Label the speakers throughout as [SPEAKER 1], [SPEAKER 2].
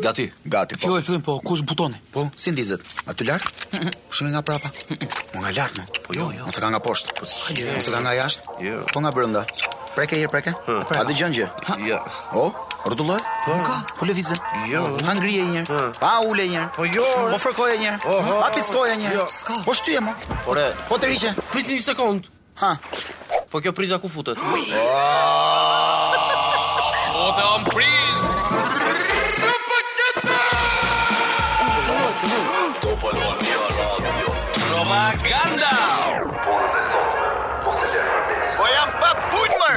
[SPEAKER 1] Gati.
[SPEAKER 2] Gati, po.
[SPEAKER 3] Filloj fillim, po kush butoni?
[SPEAKER 2] Po,
[SPEAKER 1] Si ndizet?
[SPEAKER 2] aty lart? Shumë nga prapa. Mo nga lart, mo. Po jo, jo. Ose ka nga poshtë. Po Ose ka nga jashtë?
[SPEAKER 1] Jo.
[SPEAKER 2] Po nga brenda. Preke herë, preke. A dëgjon gjë?
[SPEAKER 1] Ja.
[SPEAKER 2] O, rrotulloj? Po. Ka, po lëvizën.
[SPEAKER 1] Jo.
[SPEAKER 2] Ha ngrije një herë.
[SPEAKER 1] Ha.
[SPEAKER 2] Pa ule një herë.
[SPEAKER 1] Po jo.
[SPEAKER 2] Po fërkoje një herë.
[SPEAKER 1] Oho.
[SPEAKER 2] Pa pickoje një herë.
[SPEAKER 1] Jo.
[SPEAKER 2] Po shtyje mo.
[SPEAKER 1] Ore,
[SPEAKER 2] Po të riqe.
[SPEAKER 1] prisni një sekond.
[SPEAKER 2] Ha.
[SPEAKER 1] Po kjo priza ku futet?
[SPEAKER 4] Ote on priz Propaganda
[SPEAKER 2] Po jam pa punë më.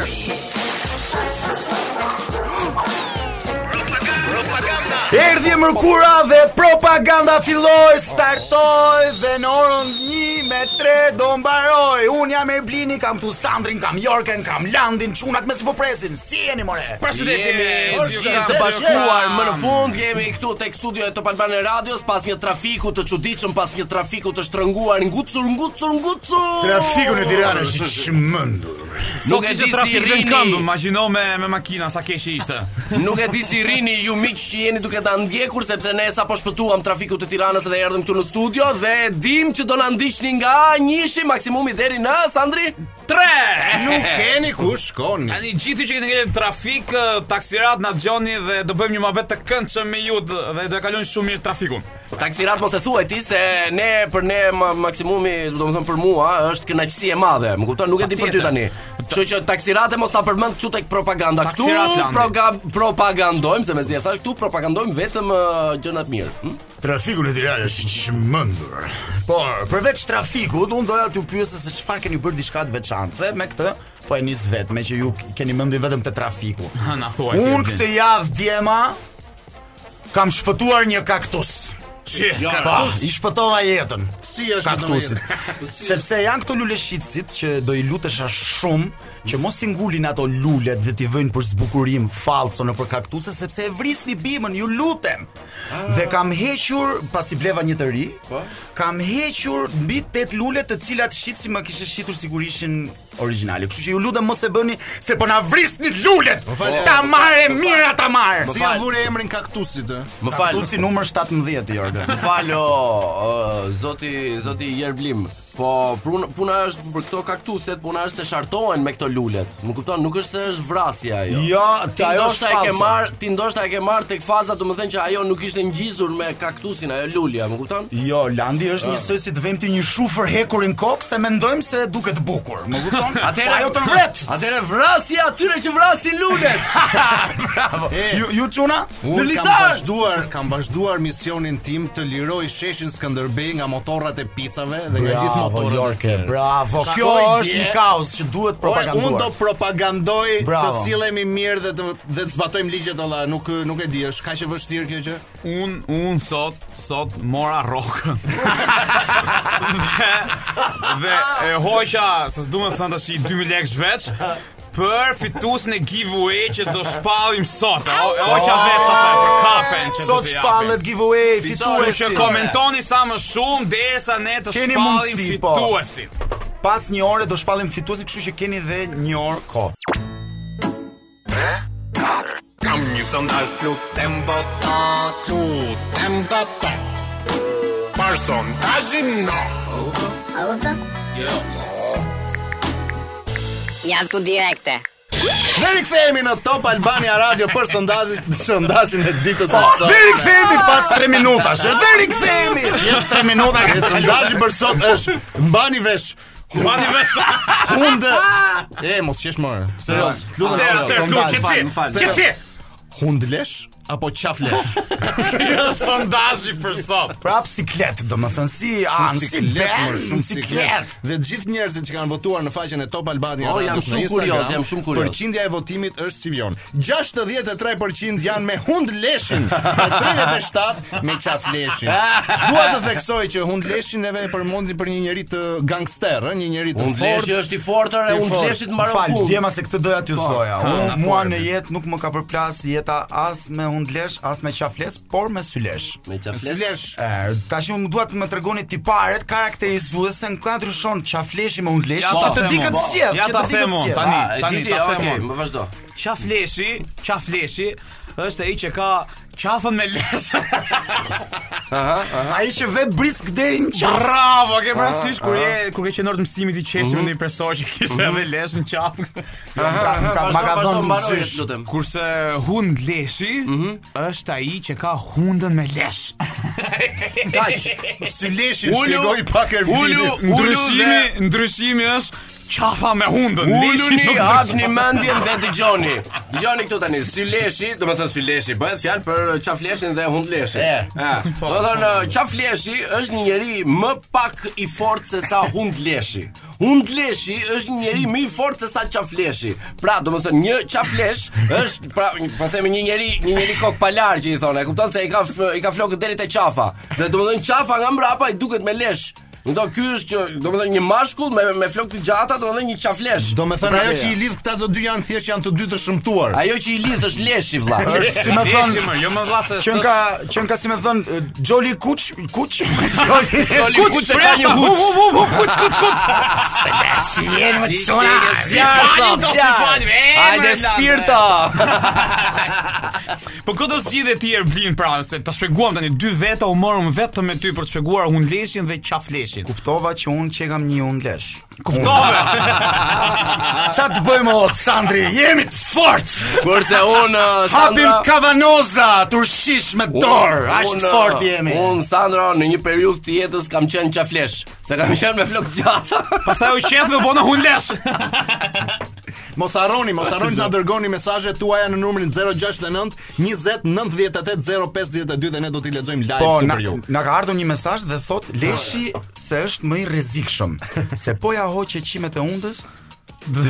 [SPEAKER 5] Erdhi mërkura dhe propaganda filloi, startoi dhe në orën 1 me 3 do mbaroj. Un jam Erblini, kam tu Sandrin, kam Jorken, kam Landin, çunat më si po presin. Si jeni more?
[SPEAKER 4] Jemi
[SPEAKER 5] Është
[SPEAKER 4] si
[SPEAKER 5] si
[SPEAKER 4] kam,
[SPEAKER 6] të
[SPEAKER 4] si
[SPEAKER 6] bashkuar
[SPEAKER 4] kam.
[SPEAKER 6] më në fund jemi këtu tek studio e Top Albana Radios pas një trafiku të çuditshëm, pas një trafiku të shtrënguar, ngucur ngucur ngucur.
[SPEAKER 5] Trafiku në Tiranë është i çmendur.
[SPEAKER 4] Nuk
[SPEAKER 6] Nuk
[SPEAKER 4] e
[SPEAKER 6] e
[SPEAKER 4] di
[SPEAKER 6] di si
[SPEAKER 4] trafik në
[SPEAKER 6] rini.
[SPEAKER 4] këmbë, imagjino me me makina sa keqe ishte.
[SPEAKER 6] Nuk e di si rini ju miq që jeni duke ta ndjekur sepse ne sapo shpëtuam trafikut të Tiranës dhe erdhëm këtu në studio dhe dim që do na ndiqni nga njëshi maksimumi deri në Sandri 3.
[SPEAKER 7] Nuk keni ku shkoni.
[SPEAKER 4] Tani gjithë ju që keni ngelë trafik, eh, taksirat na dëgjoni dhe do bëjmë një mohabet të këndshëm me ju d- dhe do e kalojnë shumë mirë trafikun.
[SPEAKER 6] Taksirat mos e thuaj ti se ne për ne ma- maksimumi, do të them për mua, është kënaqësi e madhe. Më kupton, nuk e di për ty
[SPEAKER 4] Patjetër.
[SPEAKER 6] tani. Kështu që taksirate mos ta përmend këtu tek propaganda. Këtu
[SPEAKER 4] Taksirat, Landi.
[SPEAKER 6] proga- propagandojmë, se mezi e thash, këtu propagandojmë vetëm ë, gjëna të mirë. hm?
[SPEAKER 5] Trafiku në Tiranë është i çmendur. Por përveç trafikut, unë doja t'ju pyesë se çfarë keni bërë diçka të veçantë. Dhe me këtë po e nis vetëm me që ju keni mendin vetëm te trafiku.
[SPEAKER 4] Ha, na thuaj.
[SPEAKER 5] Unë këtë javë djema kam shpëtuar një kaktus. Pa, i shpëtova jetën.
[SPEAKER 7] Si është
[SPEAKER 5] Kaktusin. Sepse janë këto lule shitësit që do i lutesha shumë që mos t'i ngulin ato lulet dhe t'i vëjnë për zbukurim falso në për kaktuse sepse e vrisni bimën, ju lutem.
[SPEAKER 7] Ah.
[SPEAKER 5] Dhe kam hequr, pasi bleva një të ri,
[SPEAKER 7] Po.
[SPEAKER 5] kam hequr mbi 8 lule të cilat shitësi më kishte shitur sigurishin origjinale. Kështu që ju lutem mos e bëni se po na vrisni lulet. Ta marrë mira ta marrë.
[SPEAKER 7] Si ja vure emrin kaktusit, ë?
[SPEAKER 6] Më fal.
[SPEAKER 5] Kaktusi numër 17 Jorgen.
[SPEAKER 6] Më Falo, ë, zoti zoti Jerblim. Po puna, puna është për këto kaktuset, puna është se shartohen me këto lulet. Më kupton, nuk është se është vrasja ajo.
[SPEAKER 5] Jo,
[SPEAKER 6] Ti
[SPEAKER 5] ta ajo
[SPEAKER 6] ndoshta
[SPEAKER 5] është
[SPEAKER 6] e ke
[SPEAKER 5] falso.
[SPEAKER 6] marr, ti ndoshta e ke marr tek faza, domethënë që ajo nuk ishte ngjizur me kaktusin, ajo lulja, më kupton?
[SPEAKER 5] Jo, Landi është njësoj si të vëmë ti një shufër hekurin kokë se mendojmë se duket bukur. Më kupton?
[SPEAKER 6] Atëherë-
[SPEAKER 5] Po ajo të vret.
[SPEAKER 6] Atëre vrasja atyre që vrasin lulet.
[SPEAKER 5] Bravo. Ju ju çuna?
[SPEAKER 7] Unë kam
[SPEAKER 6] Militar!
[SPEAKER 7] vazhduar, kam vazhduar misionin tim të liroj sheshin Skënderbej nga motorrat e picave dhe nga gjithë motorrat.
[SPEAKER 5] Jorke, bravo. Kjo
[SPEAKER 7] Shkoj
[SPEAKER 5] është
[SPEAKER 7] dje.
[SPEAKER 5] një kaos që duhet
[SPEAKER 7] Ore, unë do
[SPEAKER 5] propaganduar.
[SPEAKER 7] propagandoj
[SPEAKER 5] Bravo.
[SPEAKER 7] të sillemi mirë dhe të, dhe të zbatojmë ligjet olla, nuk nuk e di, është kaq e vështirë kjo gjë.
[SPEAKER 4] Un un sot sot mora rrokën. dhe, dhe e hoqa, se s'du me thënë tash i 2000 lekë veç për fituesin e giveaway që do shpallim sot. E ho- e hoqa veç Po, atë për kafen që do
[SPEAKER 5] Ah, Sot
[SPEAKER 4] t'i japim.
[SPEAKER 5] shpallet giveaway
[SPEAKER 4] Kështu që
[SPEAKER 5] fituesi.
[SPEAKER 4] komentoni sa më shumë derisa ne të
[SPEAKER 5] Keni
[SPEAKER 4] shpallim
[SPEAKER 5] mundësi, po.
[SPEAKER 4] fituesin.
[SPEAKER 5] Pas një ore do shpallim fituesin, kështu që keni dhe një orë kohë.
[SPEAKER 7] Kam një sandal lutem bota, lutem bota. Person tajim no.
[SPEAKER 8] A kupton? Jo. Jam tu direkte.
[SPEAKER 7] Ne rikthehemi në Top Albania Radio për sondazhin sondazhin e ditës së
[SPEAKER 5] Po,
[SPEAKER 7] sotme.
[SPEAKER 5] dhe rikthehemi pas 3 minutash. Dhe rikthehemi. Jes 3 minuta
[SPEAKER 7] E sondazhi për sot është mbani vesh.
[SPEAKER 4] Mani veç.
[SPEAKER 7] Hunde. E mos qesh më. Serioz, lutem.
[SPEAKER 4] Atëherë,
[SPEAKER 7] serios.
[SPEAKER 4] atëherë,
[SPEAKER 5] sondazh,
[SPEAKER 4] qetësi.
[SPEAKER 5] më fal, më fal.
[SPEAKER 4] Qetësi.
[SPEAKER 7] Hundlesh apo qaflesh?
[SPEAKER 4] Sondazhi për sot.
[SPEAKER 5] Prap siklet, domethënë si an
[SPEAKER 7] Shumë siklet,
[SPEAKER 5] siklet,
[SPEAKER 7] më,
[SPEAKER 5] shumë siklet.
[SPEAKER 7] Dhe të gjithë njerëzit që kanë votuar në faqen e Top Albania
[SPEAKER 6] O,
[SPEAKER 7] Radios
[SPEAKER 6] jam
[SPEAKER 7] në
[SPEAKER 6] shumë
[SPEAKER 7] Instagram,
[SPEAKER 6] kurioz, jam shumë kurioz.
[SPEAKER 7] Përqindja e votimit është si vjon. 63% janë me hund leshin, e 37 me qaf leshin. Dua të theksoj që hund leshin neve e përmendin për një njerëz të gangster, ë, një njerëz të
[SPEAKER 6] Unë fleshi
[SPEAKER 7] fortë.
[SPEAKER 6] është i fortër e
[SPEAKER 7] I
[SPEAKER 6] unë
[SPEAKER 7] fortë.
[SPEAKER 6] fleshit mbaron
[SPEAKER 5] Fal,
[SPEAKER 6] punë.
[SPEAKER 5] djema se këtë doja t'ju thoja. Unë mua
[SPEAKER 7] fortë.
[SPEAKER 5] në jetë nuk më ka përplas jeta as me hundlesh, as me qafles, por me sylesh.
[SPEAKER 6] Me qafles.
[SPEAKER 7] Flesh.
[SPEAKER 5] E, tash unë duat më tregoni tiparet karakterizuese në ka ndryshon qafleshi me hundleshi
[SPEAKER 4] Ja
[SPEAKER 5] që
[SPEAKER 4] ta
[SPEAKER 5] të
[SPEAKER 4] them
[SPEAKER 5] di këtë
[SPEAKER 4] unë,
[SPEAKER 5] zgjedh,
[SPEAKER 4] ja
[SPEAKER 5] që
[SPEAKER 4] ta
[SPEAKER 5] të di këtë
[SPEAKER 4] them unë,
[SPEAKER 5] zgjedh.
[SPEAKER 4] tani.
[SPEAKER 6] Ah, e di ti,
[SPEAKER 4] ta them
[SPEAKER 6] okay,
[SPEAKER 4] unë.
[SPEAKER 6] më vazhdo.
[SPEAKER 4] Qafleshi, qafleshi është ai që ka Qafën me lesh.
[SPEAKER 5] Ai që vet brisk deri në qarr.
[SPEAKER 4] Bravo, ke parasysh kur je kur ke qenë në mësimit i qeshim me një profesor që kishte me lesh në qafë.
[SPEAKER 5] Ma ka dhënë në
[SPEAKER 6] mbaroj,
[SPEAKER 5] zysh.
[SPEAKER 6] lutem.
[SPEAKER 4] Kurse hund leshi është ai që ka hundën me lesh.
[SPEAKER 7] Si leshin
[SPEAKER 4] Ulu,
[SPEAKER 7] shpjegoi pak
[SPEAKER 4] Ulu,
[SPEAKER 7] Ervinit.
[SPEAKER 4] ndryshimi, ndryshimi është qafa me hundën. leshi
[SPEAKER 6] Uluni,
[SPEAKER 4] nuk
[SPEAKER 6] hapni
[SPEAKER 4] ndryshon.
[SPEAKER 6] mendjen dhe dëgjoni. Dëgjoni këtu tani, syleshi, domethënë syleshi, bëhet fjalë për uh, qafleshin dhe hundleshin.
[SPEAKER 5] E.
[SPEAKER 6] Ë. Do thonë uh, qafleshi është një njeri më pak i fortë se sa hundleshi. Hundleshi është një njeri më i fortë se sa qafleshi. Pra, domethënë një qaflesh është pra, po themi një njeri, një njeri kok palar që i thonë. E kupton se i ka f- i ka flokët deri te qafa. Dhe domethënë qafa nga mbrapa i duket me lesh. Ndo ky është që domethënë një mashkull me me flokë të gjata, domethënë një qaflesh.
[SPEAKER 7] Do me thënë ajo
[SPEAKER 6] Pra,
[SPEAKER 7] që i lidh këta do dy janë thjesht janë të dy të shëmtuar.
[SPEAKER 6] Ajo që i lidh është leshi vlla. Është
[SPEAKER 5] Si më thon,
[SPEAKER 4] Leshi, më, jo më vlla se
[SPEAKER 5] që
[SPEAKER 4] s'është-
[SPEAKER 5] nga që nga si më thon Jolly Kuç, Kuç, Jolly
[SPEAKER 6] Jolly
[SPEAKER 5] Kuç.
[SPEAKER 6] Kuç e ka një huc.
[SPEAKER 4] Hu hu hu, kuç kuç kuç.
[SPEAKER 5] Si jenë më
[SPEAKER 6] Si
[SPEAKER 5] çona.
[SPEAKER 6] qike, si
[SPEAKER 4] fali, do
[SPEAKER 6] fali,
[SPEAKER 4] si fali, e,
[SPEAKER 6] Hajde
[SPEAKER 4] mërlande.
[SPEAKER 6] spirto.
[SPEAKER 4] Po këtë zgjidhje ti Erblin pra, se ta shpjeguam tani dy veta u morëm vetëm me ty për të shpjeguar hundleshin dhe qafleshin.
[SPEAKER 5] Kuptova që unë që kam një undlesh.
[SPEAKER 4] Kuptove?
[SPEAKER 5] Qa të bëjmë o, Sandri? Jemi të fort!
[SPEAKER 6] Kurse unë
[SPEAKER 5] Hapim
[SPEAKER 6] Sandra
[SPEAKER 5] kavanoza, turshish me dorë, ashtë
[SPEAKER 6] unë,
[SPEAKER 5] të fort jemi.
[SPEAKER 6] Unë Sandra në një periudhë të jetës kam qenë qaflesh, se kam qenë me flok gjata.
[SPEAKER 4] Pastaj u qef dhe bona hundlesh.
[SPEAKER 7] Mos harroni, mos harroni të na dërgoni mesazhet tuaja në numrin 069 20 98 052 dhe ne do t'i lexojmë live
[SPEAKER 5] Po,
[SPEAKER 7] këtu
[SPEAKER 5] na,
[SPEAKER 7] për ju.
[SPEAKER 5] na ka ardhur një mesazh dhe thot Leshi se është më i rrezikshëm, se po ja hoqë qimet e hundës,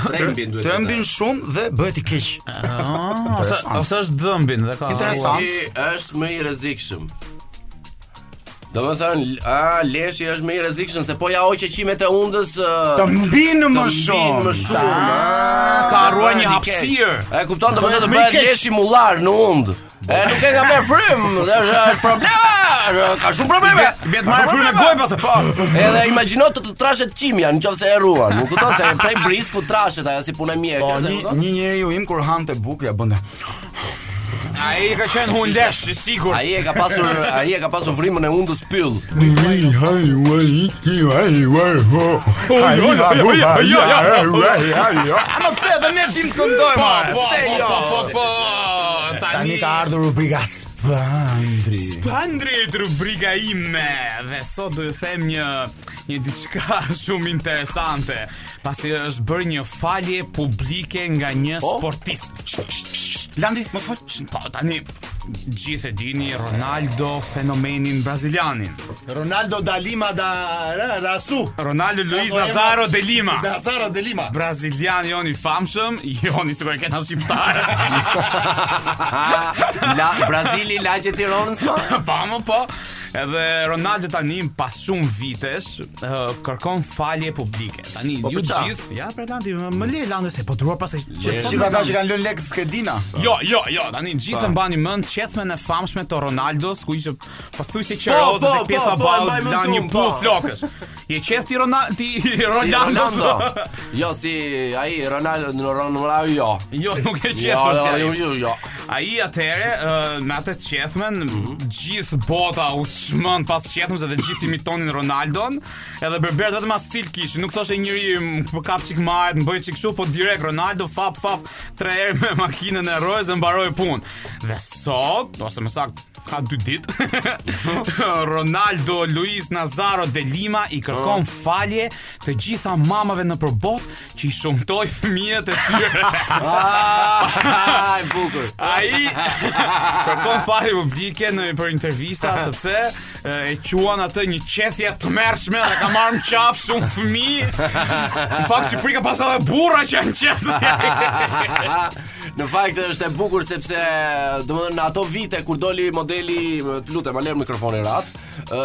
[SPEAKER 6] Trembin duhet.
[SPEAKER 5] trembin shumë dhe bëhet i keq.
[SPEAKER 6] Ah,
[SPEAKER 4] Ose ose është dëmbin dhe ka.
[SPEAKER 5] Interesant.
[SPEAKER 6] Leshi është më i rrezikshëm. Do më thënë, a, leshi është më i rrezikshëm, se po ja oqe qimet e undës... ë,
[SPEAKER 5] Të mbinë më
[SPEAKER 6] mbinë
[SPEAKER 5] shumë.
[SPEAKER 6] Më shumë. Ah,
[SPEAKER 4] Ka arruar një hapësirë.
[SPEAKER 6] E kupton, do të thotë
[SPEAKER 7] Bëhet më i
[SPEAKER 6] bëhet
[SPEAKER 7] keq.
[SPEAKER 6] leshi mullar në und. E nuk e ka marrë frym, dhe është është probleme, ka shumë probleme.
[SPEAKER 4] Bje- bje të
[SPEAKER 6] Ka shumë
[SPEAKER 4] marrë frymë e
[SPEAKER 6] probleme.
[SPEAKER 4] gojë pastaj.
[SPEAKER 6] Po, edhe imagjino të të trashet qimja nëse e ruan. Nuk kupton se prej brisku trashet ajo si punë mjekë.
[SPEAKER 5] Po,
[SPEAKER 6] se
[SPEAKER 5] një,
[SPEAKER 6] kupton?
[SPEAKER 5] një njeri u im kur hante bukë, ja bënde.
[SPEAKER 4] Ai ka qenë hundlesh i sigurt.
[SPEAKER 6] Ai e ka pasur, ai e ka pasur frymën e undës pyll.
[SPEAKER 5] Ama pse edhe ne dim të këndojmë,
[SPEAKER 4] Po,
[SPEAKER 5] mare,
[SPEAKER 4] po,
[SPEAKER 5] pse
[SPEAKER 4] po,
[SPEAKER 5] jo?
[SPEAKER 4] po, po.
[SPEAKER 5] Tani ka ardhur rubrika Spandri.
[SPEAKER 4] Pandrit rubrika ime dhe sot do ju them një një diçka shumë interesante, pasi është bërë një falje publike nga një sportist.
[SPEAKER 5] Landi, mos fol.
[SPEAKER 4] Po tani gjithë e dini Ronaldo fenomenin brazilianin.
[SPEAKER 7] Ronaldo Dalima da Ra- Rasu.
[SPEAKER 4] Ronaldo Luis
[SPEAKER 6] po,
[SPEAKER 4] Nazaro de Lima.
[SPEAKER 7] Da Zaro Dalima.
[SPEAKER 4] Brazilian joni famshëm, joni sigur e kena shqiptar.
[SPEAKER 6] La Brazili lagje Tiranës ma.
[SPEAKER 4] pa më po. Edhe Ronaldo tani pas shumë vitesh ë, kërkon falje publike. Tani
[SPEAKER 6] Po,
[SPEAKER 4] ju
[SPEAKER 6] për qa?
[SPEAKER 4] gjithë, ja për Landi, më më le Landi se po duar pas e
[SPEAKER 5] Si ata që kanë lënë lekë skedina.
[SPEAKER 4] Jo, jo, jo, tani gjithë mbani mend qethmen e famshme të Ronaldos ku ishte pothuajse
[SPEAKER 6] Po,
[SPEAKER 4] qerozë
[SPEAKER 6] po,
[SPEAKER 4] tek pjesa
[SPEAKER 6] po, po, e
[SPEAKER 4] ballë
[SPEAKER 6] mbaj mend
[SPEAKER 4] lan
[SPEAKER 6] tu,
[SPEAKER 4] një
[SPEAKER 6] po.
[SPEAKER 4] pull flokësh. Je qeft i Ronaldo ti
[SPEAKER 6] Ronaldo.
[SPEAKER 4] Ronaldos.
[SPEAKER 6] Jo si ai Ronaldo, Ronaldo jo.
[SPEAKER 4] Jo, nuk e
[SPEAKER 6] Jo,
[SPEAKER 4] qefur si
[SPEAKER 6] jo,
[SPEAKER 4] ai.
[SPEAKER 6] jo, jo.
[SPEAKER 4] A i atëre, uh, me atë qethmen, gjithë bota u çmën pas qethmës edhe gjithë imitonin Ronaldon, edhe berberët vetëm as stil kishin, nuk thoshte njëri "M- më kap çik marrë, më bëj çik kështu, po direkt Ronaldo fap fap tre herë me makinën e Rolls dhe mbaroi punë. Dhe sot, ose më saktë ka dy ditë, Ronaldo Luis Nazaro de Lima i kërkon falje të gjitha mamave në përbot që i shumtoj fëmijët e tyre.
[SPEAKER 6] Ah, e bukur.
[SPEAKER 4] Ai kërkon fare publike në për intervista sepse e, e quan atë një qethje të mërshme dhe ka marrë në qafë shumë fëmijë. Në fakt Shqipëri ka pasur edhe burra që janë qethje.
[SPEAKER 6] Në fakt është e bukur sepse domethënë në ato vite kur doli modeli, të lutem, ma lër mikrofonin rat.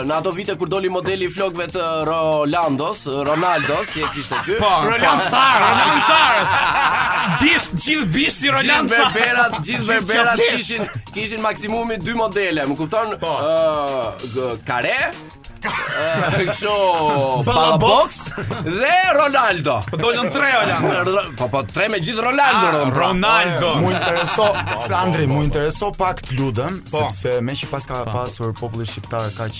[SPEAKER 6] Në ato vite kur doli modeli i flokëve të Rolandos, Ronaldos, si e kishte ky.
[SPEAKER 4] Po, Roland Sar, Roland Sarës. Bish, gjithë bish si
[SPEAKER 6] Gjithë
[SPEAKER 4] Roland Sar.
[SPEAKER 6] berberat, gjithë berberat
[SPEAKER 4] qaflesh.
[SPEAKER 6] kishin kishin maksimumi dy modele, më kupton?
[SPEAKER 4] Po.
[SPEAKER 6] Ë, g- kare Kështu Balabox dhe Ronaldo.
[SPEAKER 4] Po dolën tre Holanda.
[SPEAKER 6] R- Po po tre me gjithë Ronaldo.
[SPEAKER 4] Ah,
[SPEAKER 6] Ron, pra.
[SPEAKER 4] Ronaldo.
[SPEAKER 5] Mu intereso, Sandri, mu intereso pak të lutëm,
[SPEAKER 4] Po.
[SPEAKER 5] sepse me që pas ka pasur populli shqiptar kaq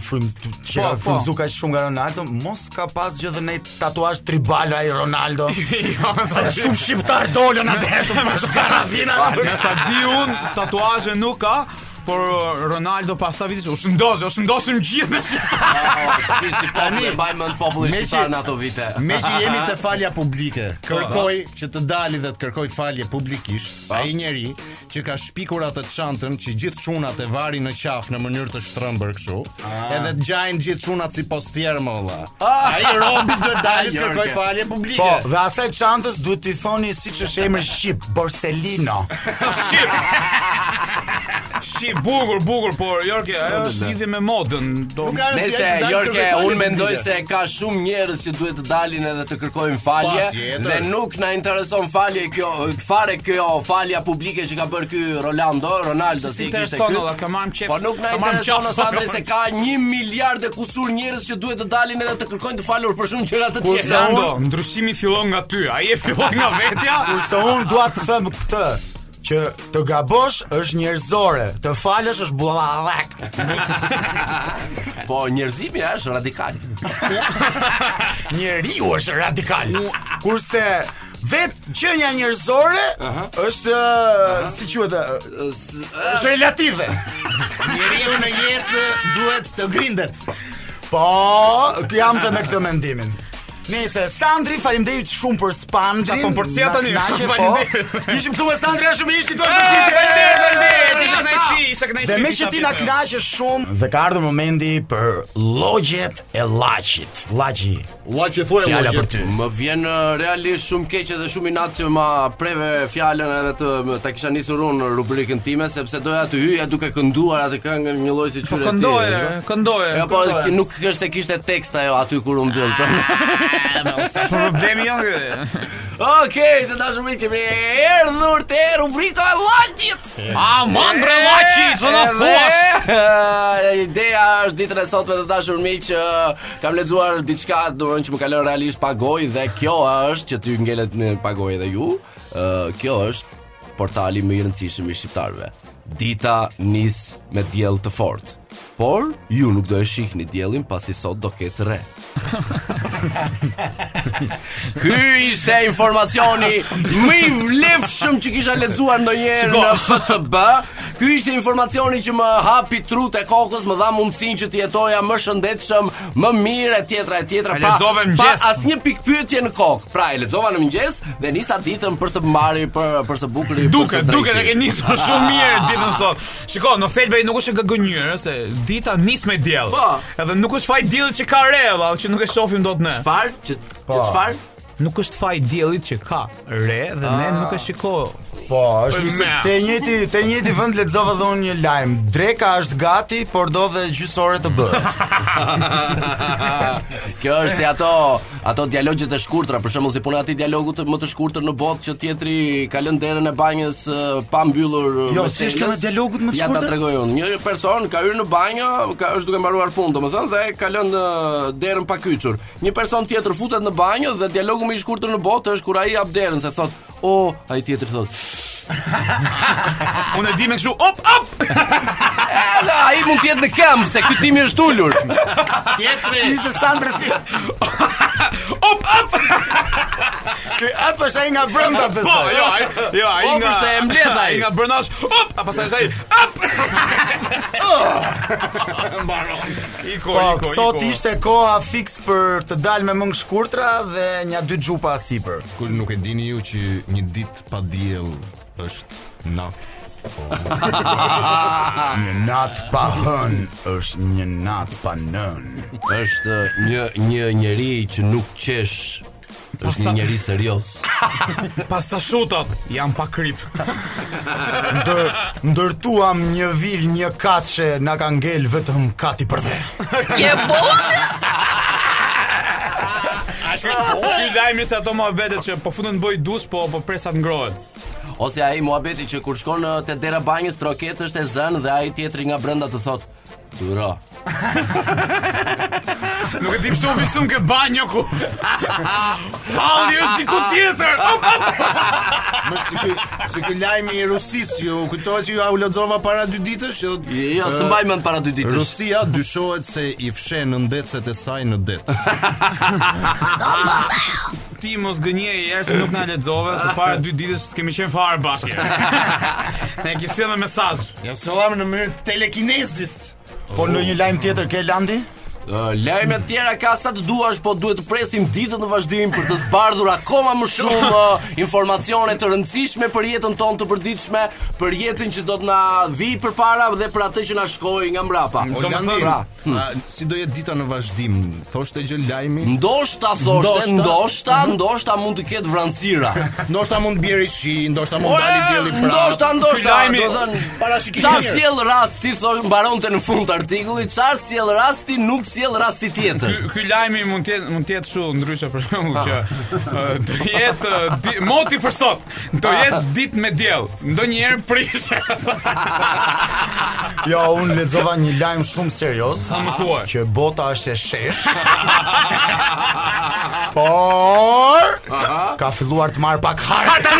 [SPEAKER 5] frym që
[SPEAKER 4] Po,
[SPEAKER 5] ka
[SPEAKER 4] po.
[SPEAKER 5] frymzu kaq shumë nga Ronaldo, mos ka pas gjë dhe ne tatuazh tribal ai Ronaldo.
[SPEAKER 4] Jo, me sa
[SPEAKER 5] Se
[SPEAKER 4] di-
[SPEAKER 5] shumë shqiptar dolën atëherë për shkarafina.
[SPEAKER 4] Me sa di un, tatuazhe nuk ka, por Ronaldo pas sa vitesh u shëndosh, u shëndosim gjithë me shqiptar.
[SPEAKER 6] Tani bajmë mend popullin
[SPEAKER 7] me që-
[SPEAKER 6] shqiptar në ato vite.
[SPEAKER 7] Me që jemi të falja publike, kërkoj që të dali dhe të kërkoj falje publikisht, ai njeri që ka shpikur atë çantën që gjithë çunat e vari në qafë në mënyrë të shtrëmbër kështu, edhe të gjajnë gjithë çunat si postjer më valla. Ai Robi duhet dali të kërkoj falje publike.
[SPEAKER 5] Po, dhe asaj çantës duhet t'i thoni siç është emri shqip, Borsellino.
[SPEAKER 4] Shqip. Shqip bukur, bukur, por Jorge, ajo është lidhje me modën. Do
[SPEAKER 7] Nuk ka rëndësi,
[SPEAKER 6] Nëse
[SPEAKER 7] ai të dalë të
[SPEAKER 6] Jorge,
[SPEAKER 7] kërkoj falje
[SPEAKER 6] unë mendoj
[SPEAKER 7] publike.
[SPEAKER 6] se ka shumë njerëz që duhet të dalin edhe të kërkojnë falje
[SPEAKER 7] Patjetër.
[SPEAKER 6] dhe nuk na intereson falje kjo fare kjo falja publike që ka bërë ky Rolando, Ronaldo si
[SPEAKER 4] si
[SPEAKER 6] e kishte
[SPEAKER 4] intereson
[SPEAKER 6] ky.
[SPEAKER 4] olla, ka marrëm qef.
[SPEAKER 6] Po nuk na
[SPEAKER 4] ka marrëm
[SPEAKER 6] intereson
[SPEAKER 4] qef,
[SPEAKER 6] as Andri
[SPEAKER 4] ka
[SPEAKER 6] se
[SPEAKER 4] marrëm-
[SPEAKER 6] ka 1 miliard e kusur njerëz që duhet të dalin edhe të kërkojnë të falur për shumë gjëra të tjera.
[SPEAKER 4] Sando, ndryshimi fillon nga ty. Ai e fillon nga vetja.
[SPEAKER 5] Kurse unë dua të them këtë që të gabosh është njerëzore, të falësh është bullallak.
[SPEAKER 6] Po njerëzimi është radikal.
[SPEAKER 5] Njeriu është radikal. Kurse vetë qenia njerëzore është ë, si quhet ë,
[SPEAKER 6] S-
[SPEAKER 5] është relative.
[SPEAKER 7] Njeriu në jetë duhet të grindet.
[SPEAKER 5] Po, jam dhe me këtë mendimin. Nëse Sandri, faleminderit shumë për spandrin.
[SPEAKER 4] Sa po përcjell tani,
[SPEAKER 5] na knaqe, po.
[SPEAKER 4] faleminderit.
[SPEAKER 5] Ishim këtu me Sandri, ashtu më ishit dorë
[SPEAKER 4] Faleminderit,
[SPEAKER 5] ditë.
[SPEAKER 4] faleminderit. Isha kënaqësi, isha kënaqësi.
[SPEAKER 5] Dhe me
[SPEAKER 4] kisha
[SPEAKER 5] që ti na
[SPEAKER 4] vjetë.
[SPEAKER 5] knaqe shumë Dhe ka ardhur momenti për logjet e laqit Laqi
[SPEAKER 7] Lla që thua
[SPEAKER 5] Fjala për ty
[SPEAKER 6] Më vjen eh, realisht shumë keq edhe shumë i natë që ma preve fjalën edhe të më- ta kisha nisur unë rubrikën time sepse doja të hyja duke kënduar atë këngën një lloj si
[SPEAKER 4] Po
[SPEAKER 6] qyre
[SPEAKER 4] këndoje, këndoje.
[SPEAKER 6] Jo, po nuk është se kishte tekst ajo aty kur u mbyll. po.
[SPEAKER 4] Sa problemi jo.
[SPEAKER 6] Okej, të dashur miq, kemi erdhur te rubrika e llaçit.
[SPEAKER 4] A man bre llaçi, çfarë na thuash?
[SPEAKER 6] thuash? Ideja është ditën e sotme të dashur miq, ë, kam lexuar diçka domthonjë që më ka lënë realisht pa gojë dhe kjo është që ty ngelet në pa gojë edhe ju. ë, kjo është portali më i rëndësishëm i shqiptarëve. Dita nis me diell të fortë. Por ju nuk do e shihni diellin pasi sot do ketë re. Ky ishte informacioni më i vlefshëm që kisha lexuar ndonjëherë
[SPEAKER 4] Shiko.
[SPEAKER 6] në FCB. Ky ishte informacioni që më hapi trut e kokës, më dha mundësinë që të jetoja më shëndetshëm, më mirë etj etj.
[SPEAKER 4] E lexove në mëngjes.
[SPEAKER 6] pa asnjë pikpyetje në kokë. Pra e lexova në mëngjes dhe nisa ditën për së mbari për për së bukuri. për
[SPEAKER 4] Duke,
[SPEAKER 6] së drejti.
[SPEAKER 4] duke dhe ke nisur shumë mirë ditën sot. Shiko, në Thelbej nuk është nga gënjyrë se dita nis me diell.
[SPEAKER 6] Po.
[SPEAKER 4] Edhe nuk është faj diellit që ka re, valla, që nuk e shohim dot ne.
[SPEAKER 6] Çfarë? Që që çfarë?
[SPEAKER 4] Nuk është faj diellit që ka re dhe ne nuk e shikojmë.
[SPEAKER 5] Po, është
[SPEAKER 4] Po,
[SPEAKER 5] një
[SPEAKER 4] me.
[SPEAKER 5] te njëti te njëti vend lexova dhe unë një lajm. Dreka është gati, por do dhe gjysore të Po, bëhet.
[SPEAKER 6] Kjo është si ato ato dialogjet e shkurtra, për shembull si puna e atij dialogut më të shkurtër në botë që tjetri ka lënë derën e banjës eh, pa mbyllur eh,
[SPEAKER 5] Jo,
[SPEAKER 6] me
[SPEAKER 5] si është
[SPEAKER 6] selës.
[SPEAKER 5] kjo me dialogut më të
[SPEAKER 6] Ja ta
[SPEAKER 5] shkurtër?
[SPEAKER 6] tregoj unë. Një person ka hyrë në banjë, ka është duke mbaruar punë, domethënë dhe ka lënë eh, derën pa kyçur. Një person tjetër futet në banjë dhe dialogu më i shkurtër në botë është kur ai hap derën se thot O, ai tjetri thot.
[SPEAKER 4] Unë e di me kështu, op, op.
[SPEAKER 6] Ala, ai mund të jetë në këmbë se ky timi është ulur.
[SPEAKER 5] Si ishte Sandra si?
[SPEAKER 4] Op, op.
[SPEAKER 5] Ky ap është ai nga brenda
[SPEAKER 4] Po,
[SPEAKER 5] besoj.
[SPEAKER 4] jo, ai, jo, ai
[SPEAKER 6] Po,
[SPEAKER 4] nga.
[SPEAKER 6] përse e mbledh ai.
[SPEAKER 4] Ai nga Brnash. Op, a pastaj është ai. Op. Mbaron. Iko,
[SPEAKER 5] Po,
[SPEAKER 4] iko, iko.
[SPEAKER 5] sot ishte koha fiks për të dalë me mëngë shkurtra dhe nja dy gjupa sipër.
[SPEAKER 7] Kur nuk e dini ju që një ditë pa diell është natë.
[SPEAKER 5] Një natë pa hën është një natë pa nën.
[SPEAKER 6] është një një njeri që nuk qesh. Është një njeri serioz.
[SPEAKER 4] Pas ta shutat, jam pa krip.
[SPEAKER 5] Ndër, ndërtuam një vil, një katshe, na ka ngel vetëm kati për dhe.
[SPEAKER 4] Ky lajmi se ato mohabetet që po futen në boj dush, po po presat ngrohen.
[SPEAKER 6] ose ai muhabeti që kur shkon në te dera banjës troket është e zënë dhe ai tjetri nga brenda të thot Ura.
[SPEAKER 4] Nuk e di pse u fiksum ke banjo ku. Halli është diku tjetër. Op, op.
[SPEAKER 7] Më si ky, si ky lajmi i Rusisë, ju kujtohet që ju au lexova para dy ditësh, që thotë,
[SPEAKER 6] Jo,
[SPEAKER 7] "Eh,
[SPEAKER 6] s'të mbaj mend para dy ditësh.
[SPEAKER 7] Rusia dyshohet se i fshen në ndecet e saj në det.
[SPEAKER 4] Ti mos gënje i erë se nuk na lexove se para dy ditësh kemi qenë fare bashkë. Ne ke sjellë me mesazh.
[SPEAKER 7] Ja soam në mënyrë telekinezis.
[SPEAKER 5] Po në një lajm tjetër ke Landi?
[SPEAKER 6] Ë, Lajme të tjera ka sa të duash, po duhet të presim ditët në vazhdim për të zbardhur akoma më shumë ë, informacione të rëndësishme për jetën tonë të përditshme, për jetën që do të na vi përpara dhe për atë që na shkoi nga mbrapa.
[SPEAKER 7] Olandi,
[SPEAKER 6] Pra,
[SPEAKER 7] a, si do jetë dita në vazhdim? Thoshte gjë lajmi?
[SPEAKER 6] Ndoshta thoshte,
[SPEAKER 7] Ndoshta.
[SPEAKER 6] ndoshta, ndoshta mund të ketë vranësira.
[SPEAKER 7] Ndoshta mund bjerë i shi, ndoshta mund
[SPEAKER 6] Ore,
[SPEAKER 7] dali dielli pra. prapë.
[SPEAKER 6] ndoshta, ndoshta,
[SPEAKER 4] Ky lajmi-
[SPEAKER 6] do thënë,
[SPEAKER 7] Parashikimi
[SPEAKER 6] çfarë
[SPEAKER 7] mirë.
[SPEAKER 6] sjell rasti thosh mbaronte në fund të artikullit, çfarë sjell rasti nuk sjell rasti tjetër.
[SPEAKER 4] Ky- Ky lajmi mund të jetë mund të jetë kështu ndryshe për shembull që ë, do jetë ë, di- moti për sot. Do jetë ditë me diell. Ndonjëherë prishë.
[SPEAKER 5] Jo, unë lexova një lajm shumë serioz.
[SPEAKER 4] Sa më thuaj.
[SPEAKER 5] që bota është e shesh Por Ka filluar të marrë pak hartë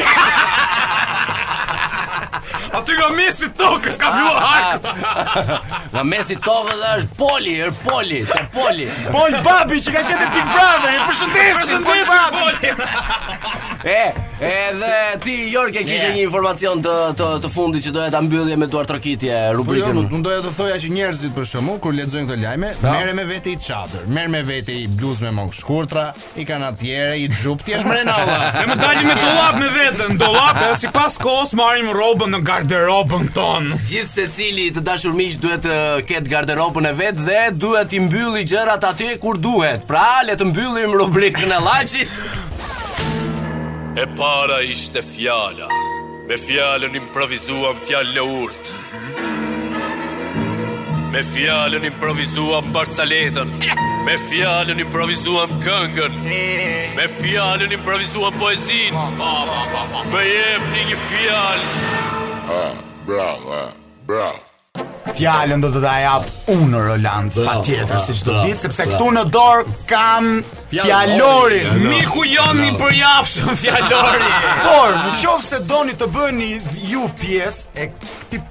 [SPEAKER 4] Aty nga mesi tokës ka filluar harku.
[SPEAKER 6] Nga mesi tokës është poli, er poli, te poli.
[SPEAKER 5] Pol Babi që ka qenë te Big Brother E përshëndesim Pol
[SPEAKER 4] Përshëndesim
[SPEAKER 7] po,
[SPEAKER 4] po,
[SPEAKER 5] Babi
[SPEAKER 4] Poli.
[SPEAKER 6] E, edhe ti Jorge kishe një informacion të të, të fundit që doja ta mbyllje me duar trokitje
[SPEAKER 7] Po jo,
[SPEAKER 6] rubrikën.
[SPEAKER 7] nuk doja të thoja që njerëzit për shkakun kur lexojnë këto lajme, merre me vete i çadër, merr me vete i bluzë me mangë shkurtra, i kanatiere, i xhup, ti je mrena valla.
[SPEAKER 4] Ne më dalim me dollap me veten, dollap e si pas kohës marrim robën në garderobën tonë.
[SPEAKER 6] Gjithë se cili të dashur miq duhet të ketë garderobën e vetë dhe duhet i mbylli gjërat aty kur duhet. Pra, le të mbyllim rubrikën e llaçit.
[SPEAKER 3] E para ishte fjala. Me fjalën improvisuam fjalë urt. Me fjalën improvisuam barcaletën. Me fjalën improvisuam këngën. Me fjalën improvisuam poezinë. Më jepni një fjalë.
[SPEAKER 5] Fjallën do të da jap unë Roland Pa tjetër si që do ditë Sepse këtu në dorë kam Fjallorin
[SPEAKER 4] Miku jonë një përjafshëm fjallori.
[SPEAKER 5] Por në qovë se doni të bëni ju pjesë E këti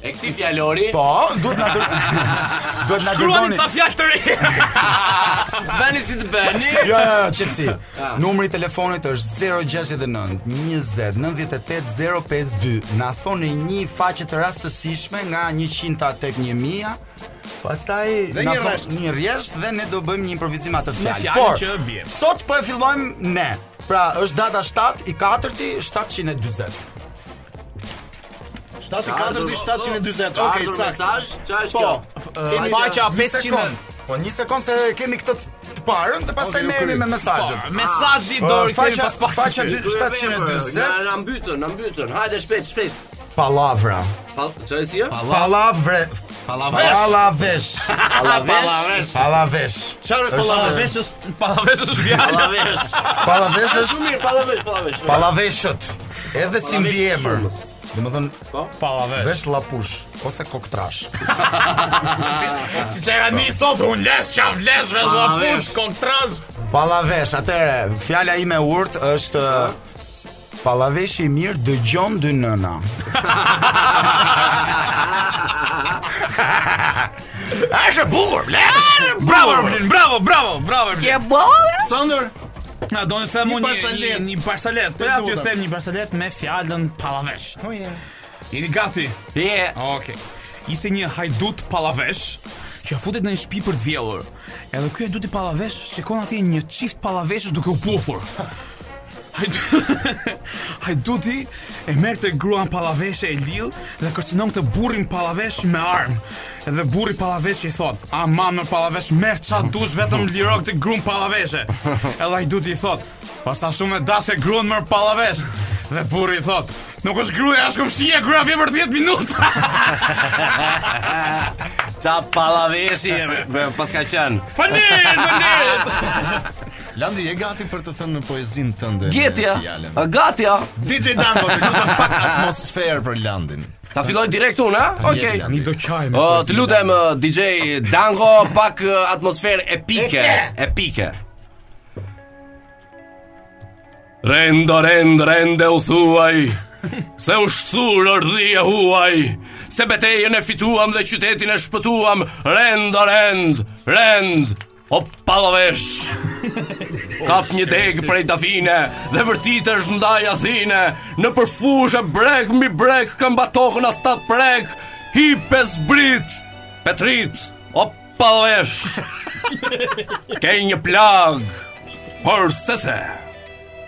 [SPEAKER 6] E këti fjalori,
[SPEAKER 5] po Duhet na dër... Duhet na
[SPEAKER 4] Kruani
[SPEAKER 5] dërgoni
[SPEAKER 4] ca fjallë të reja.
[SPEAKER 6] bëni si të bëni.
[SPEAKER 5] Jo, jo, jo, qëtësi
[SPEAKER 7] Ah.
[SPEAKER 5] Numri i telefonit është 069 20 98 052 Na thoni një faqe të rastësishme nga 100 tek 1000 Pastaj
[SPEAKER 7] Dhe
[SPEAKER 5] na
[SPEAKER 7] një
[SPEAKER 5] thon-
[SPEAKER 7] rresht.
[SPEAKER 5] një rresht dhe ne do bëjmë një improvisim atë fjalë.
[SPEAKER 4] fjalë
[SPEAKER 5] Por
[SPEAKER 4] që vjen.
[SPEAKER 5] sot po e fillojmë ne. Pra, është data 7 i 4-ti 740.
[SPEAKER 7] 74 740.
[SPEAKER 6] Ka
[SPEAKER 7] Okej,
[SPEAKER 6] Jo, ardhur
[SPEAKER 7] saktë.
[SPEAKER 6] mesazh, çfarë është
[SPEAKER 5] Po.
[SPEAKER 6] kjo?
[SPEAKER 5] Kemi
[SPEAKER 4] faqa
[SPEAKER 5] një
[SPEAKER 4] 500
[SPEAKER 5] sekond. Po një sekond se kemi këtë të- të parën dhe pastaj
[SPEAKER 7] Okej, u
[SPEAKER 5] merremi
[SPEAKER 7] kry.
[SPEAKER 5] me mesazhin.
[SPEAKER 4] Mesazhi do
[SPEAKER 5] Ah,
[SPEAKER 4] i kemi
[SPEAKER 5] faqa-
[SPEAKER 4] pas pak.
[SPEAKER 5] faqa dy-
[SPEAKER 6] Ky e
[SPEAKER 5] 740.
[SPEAKER 6] vemër, Na na mbytën, na mbytën. Hajde shpejt, shpejt.
[SPEAKER 5] Palavra.
[SPEAKER 6] Pall- Çfarë si?
[SPEAKER 5] Palavre.
[SPEAKER 7] Pallavesh.
[SPEAKER 5] Pallavesh.
[SPEAKER 6] Pallavesh.
[SPEAKER 5] Pallavesh.
[SPEAKER 7] Çfarë është pallavesh?
[SPEAKER 4] Veshës, palaveshës fjallë.
[SPEAKER 6] Pallavesh.
[SPEAKER 5] Pallavesh
[SPEAKER 6] Shumë
[SPEAKER 5] është
[SPEAKER 6] mirë, pallavesh, pallavesh.
[SPEAKER 5] pallaveshët. Edhe si mbi
[SPEAKER 6] Pallavesh
[SPEAKER 5] emër.
[SPEAKER 6] shumës.
[SPEAKER 5] Domethën
[SPEAKER 4] Palavesh.
[SPEAKER 5] vesh llapush ose koktrash.
[SPEAKER 4] Si që e ka një sot, unë les, qaf les, vesh dhe
[SPEAKER 6] Pallavesh.
[SPEAKER 4] push, kontraz.
[SPEAKER 5] Pallavesh, atëre, fjala ime urt është Pallaveshi i mirë dëgjon dy nëna. Është e bukur, le.
[SPEAKER 4] Bravo, Erblin, bravo, bravo, bravo, Erblin.
[SPEAKER 7] Sander,
[SPEAKER 4] Na do të them unë një, një,
[SPEAKER 7] parsalet.
[SPEAKER 4] një parsalet. Po
[SPEAKER 7] Të
[SPEAKER 4] ja ty
[SPEAKER 7] lutem.
[SPEAKER 4] them një parsalet me fjalën pallavesh. Oh, Jeni gati?
[SPEAKER 6] Je.
[SPEAKER 4] Okej. Ishte një hajdut pallavesh që futet në një shtëpi për të vjedhur. Edhe ky hajdut i pallavesh shikon atje një çift pallaveshësh duke u pufur. Hajdu- Hajduti e merr të gruan pallaveshe e lill dhe kërcinon këtë burrin pallavesh me armë. Edhe burri pallavesh i thot: "A mam në pallavesh merr ça dush vetëm liro këtë gruan pallaveshe." Edhe Hajduti i thot: "Pasa shumë e dashë gruan mër pallavesh." Dhe burri i thot: Nuk është gruaja, është komshia, gruaja vjen për 10 minuta.
[SPEAKER 6] Qa palaveshi e me, pas ka qenë.
[SPEAKER 4] Faleminderit, faleminderit.
[SPEAKER 7] Landi, e gati për të thënë poezin tënde.
[SPEAKER 6] Gjetja,
[SPEAKER 7] Fjallën.
[SPEAKER 6] a gatja.
[SPEAKER 7] DJ Danko, të lutem pak atmosferë për Landin.
[SPEAKER 6] Ta filloj direkt unë, a? Okej.
[SPEAKER 7] Jepi, Landi.
[SPEAKER 4] do qaj
[SPEAKER 6] O, të lutem eh, DJ Dango pak eh, atmosferë epike, epike. Rendo, rend, rende u thuaj Se u shtur ërdhia huaj Se betejën e fituam dhe qytetin e shpëtuam Rendo, rend, rend O palovesh Kap një deg prej tafine Dhe vërtit është ndaj athine Në përfushë brek mbi brek Kam batohën as ta prek Hi pes brit Petrit O palovesh Ke një plag Por se the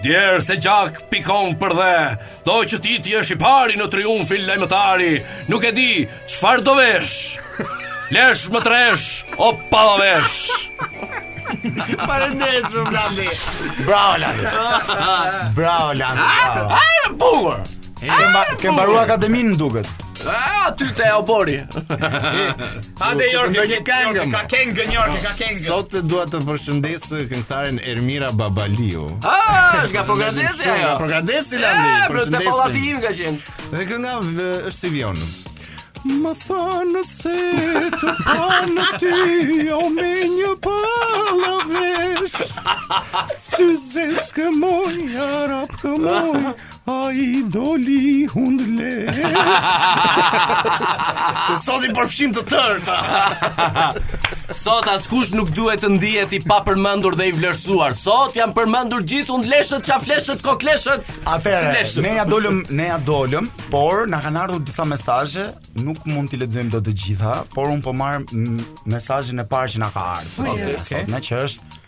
[SPEAKER 6] Djerë se gjak pikon për dhe Do që ti ti është i pari në triumfin lejmëtari Nuk e di qëfar do vesh Lesh më tresh O palavesh
[SPEAKER 5] Faleminderit shumë Landi. Bravo Landi. Bravo Landi. bravo.
[SPEAKER 6] Ajë Ah, bukur
[SPEAKER 5] Ke mba- Ke mbaruar akademinë duket.
[SPEAKER 6] A, ty Ah, te e obori
[SPEAKER 4] Hajde Jorgi,
[SPEAKER 7] ndonjë
[SPEAKER 4] ke-
[SPEAKER 7] këngë,
[SPEAKER 4] Jorgi,
[SPEAKER 7] mo.
[SPEAKER 4] Ka këngë Jorgi, ka këngë.
[SPEAKER 7] Sot dua të përshëndes këngëtaren Ermira Babaliu.
[SPEAKER 6] A, është nga Pogradesi
[SPEAKER 7] Shumë po nga
[SPEAKER 6] po ajo
[SPEAKER 7] Pogradesi Landi.
[SPEAKER 6] E, bro, te
[SPEAKER 7] përshëndesim.
[SPEAKER 6] pallati im ka qenë
[SPEAKER 7] Dhe kënga v- është si vjen. Më thonë se të panë ty O me një palavesh Sy zes këmoj, arap këmoj A i doli hundlesh Se sot i përfshim të tërta
[SPEAKER 6] Sot askush nuk duhet të ndihet i pa përmendur dhe i vlerësuar Sot janë përmendur gjithë unë leshët, qafleshët, kokleshët
[SPEAKER 5] Atëre,
[SPEAKER 6] Fleshët.
[SPEAKER 5] ne ja dolëm, ne ja dolëm, por na kanë ardhur disa mesazhe, nuk mund t'i lexojmë dot të gjitha, por un po marr mm, mesazhin e parë që na ka ardhur. Okej, sot na që është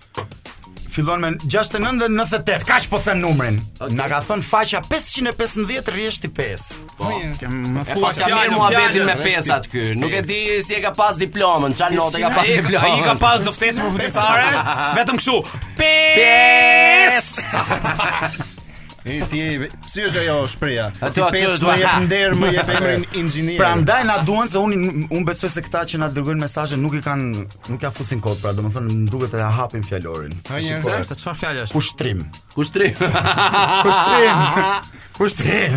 [SPEAKER 5] fillon me 69 dhe 98, kaq po them numrin. Na ka thënë faqja 515 rreshti 5.
[SPEAKER 2] Më
[SPEAKER 6] Po, E pas ka Po mirë
[SPEAKER 4] fjallë,
[SPEAKER 6] muhabetin me
[SPEAKER 4] fjallë,
[SPEAKER 6] pesat ky. Nuk e di si e ka pas diplomën, çfarë note ka pas
[SPEAKER 4] Ai ka- ai ka
[SPEAKER 6] diplomën.
[SPEAKER 4] pas doftesë përfundimtare, vetëm kështu.
[SPEAKER 6] Pes!
[SPEAKER 7] E ti e, si është ajo shpreja?
[SPEAKER 6] Ato,
[SPEAKER 7] Ti
[SPEAKER 6] ato Pra,
[SPEAKER 7] pesë
[SPEAKER 6] është
[SPEAKER 7] më
[SPEAKER 6] ma-
[SPEAKER 7] jep nder, më jep emrin inxhinier.
[SPEAKER 5] Prandaj na duan se unë un besoj se këta që na dërgojnë mesazhe nuk i kanë nuk ja fusin kod, pra domethënë më duket të ja hapin fjalorin. Se po
[SPEAKER 7] një
[SPEAKER 5] shikohet.
[SPEAKER 4] Se çfarë fjalë është?
[SPEAKER 5] Pushtrim.
[SPEAKER 6] Kushtrim.
[SPEAKER 5] Pushtrim. Pushtrim.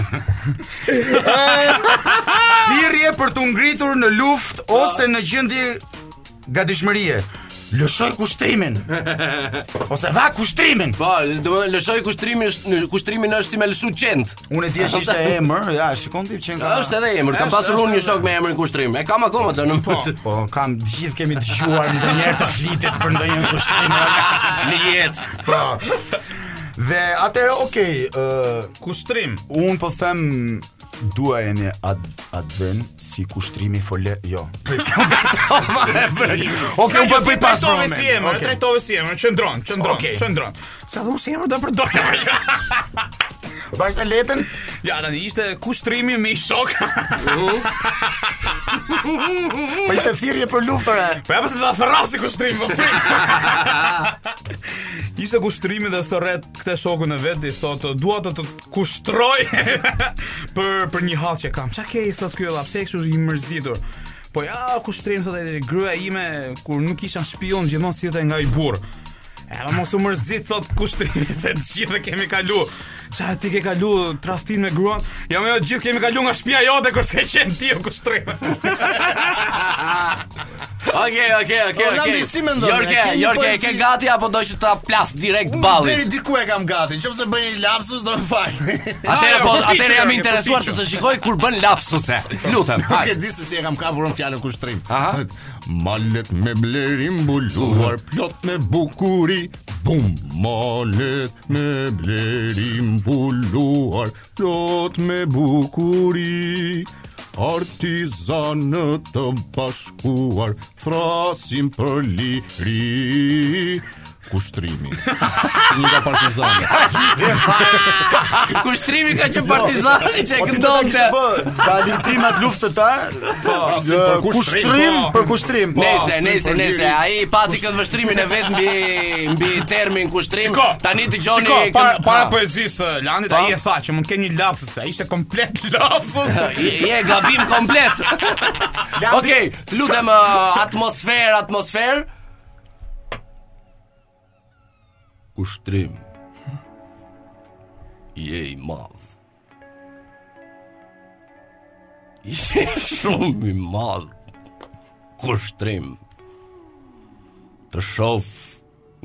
[SPEAKER 5] Thirrje për të ngritur në luftë ose në gjendje gatishmërie. Lëshoj kushtrimin. Ose dha kushtrimin.
[SPEAKER 6] Po, do të lëshoj kushtrimin, është- në- kushtrimin është si me lëshu qend.
[SPEAKER 5] Unë e di që ishte emër, ja, shikon ti që nga
[SPEAKER 6] Është edhe emër, kam pasur unë një shok me emrin kushtrim. E kam akoma çan në mund.
[SPEAKER 5] Po, kam gjithë kemi dëgjuar ndonjëherë të flitet për ndonjë kushtrim.
[SPEAKER 6] Në jetë.
[SPEAKER 5] Po. Dhe atëherë, okay, ë
[SPEAKER 4] Kushtrim.
[SPEAKER 5] Un po them duajeni ad adven si kushtrimi fole jo. Okej, un po e bëj pas për
[SPEAKER 4] jo, Trajtove si emër,
[SPEAKER 5] moment. Okej.
[SPEAKER 4] trajtove si emër, qëndron, qëndron,
[SPEAKER 5] Okej.
[SPEAKER 4] qëndron. Sa dhe unë si emër do përdor.
[SPEAKER 5] Bashkë letën.
[SPEAKER 4] Ja, tani ishte kushtrimi me i shok.
[SPEAKER 5] Po ishte thirrje për luftore.
[SPEAKER 4] Po ja pse ta thërrasi kushtrimin, po prit. Ishte kushtrimi dhe thërret këtë shokun e vet i thotë, "Dua të të kushtroj për për një hall që kam." Çka ke i thotë ky valla, pse je kështu i mërzitur? Po ja, kushtrim thotë ai, gruaja ime kur nuk isha në shtëpi unë gjithmonë sillte nga i burr. E ma mos u mërzit thot kushtrimi se të gjithë e kemi kalu. Qa ti ke kalu tradhtin me gruan? Ja me jo gjithë kemi kalu nga shtëpia jote kur s'ke qenë ti o kushtrim.
[SPEAKER 6] Okej, okej, okej,
[SPEAKER 7] Orlando,
[SPEAKER 6] okej.
[SPEAKER 7] si mendon?
[SPEAKER 6] Jorge,
[SPEAKER 7] Ke një
[SPEAKER 6] Jorge, e ke
[SPEAKER 7] poezi?
[SPEAKER 6] gati apo do që ta plas direkt
[SPEAKER 7] Deri
[SPEAKER 6] ballit?
[SPEAKER 7] diku e kam gati, nëse bëj një lapsus do më fal. Nuk
[SPEAKER 6] Atëre
[SPEAKER 4] Ah,
[SPEAKER 6] po,
[SPEAKER 4] jo, përpiqem,
[SPEAKER 6] atëre jam
[SPEAKER 4] Jorge,
[SPEAKER 6] interesuar të
[SPEAKER 4] përpiqem.
[SPEAKER 6] të shikoj kur bën lapsuse. Lutem, hajde.
[SPEAKER 7] e di se si e kam kapur unë fjalën kushtrim.
[SPEAKER 6] Aha.
[SPEAKER 7] Malet me blerim mbuluar, plot me bukuri. Bum, malet me blerim mbuluar, plot me bukuri. Artizanë të bashkuar, thrasim për liri. kushtrimi. Që një nga partizani.
[SPEAKER 6] Kushtrimi ka që partizani që e
[SPEAKER 5] Po ti do ta
[SPEAKER 6] këndonte.
[SPEAKER 5] kishe bë, dalim trimat luftëtar,
[SPEAKER 7] për
[SPEAKER 5] Po, për
[SPEAKER 7] kushtrim,
[SPEAKER 5] kushtrim,
[SPEAKER 4] po.
[SPEAKER 5] për kushtrim. Po.
[SPEAKER 6] Nese, nese,
[SPEAKER 7] për
[SPEAKER 6] nese,
[SPEAKER 7] lirin.
[SPEAKER 6] ai pati këtë vështrimin e vet mbi mbi termin kushtrim.
[SPEAKER 4] Shiko,
[SPEAKER 6] Tani dëgjoni
[SPEAKER 4] Shiko,
[SPEAKER 6] kënd-
[SPEAKER 4] para,
[SPEAKER 6] Ha.
[SPEAKER 4] para poezisë uh, Landit, ai e tha që mund të kenë një lapsus, ai ishte komplet lapsus.
[SPEAKER 6] Je je gabim komplet. Okej, të lutem uh, atmosfer, atmosfer. Ushtrim. Je i madh. Je shumë i madh. Kushtrim. Të shof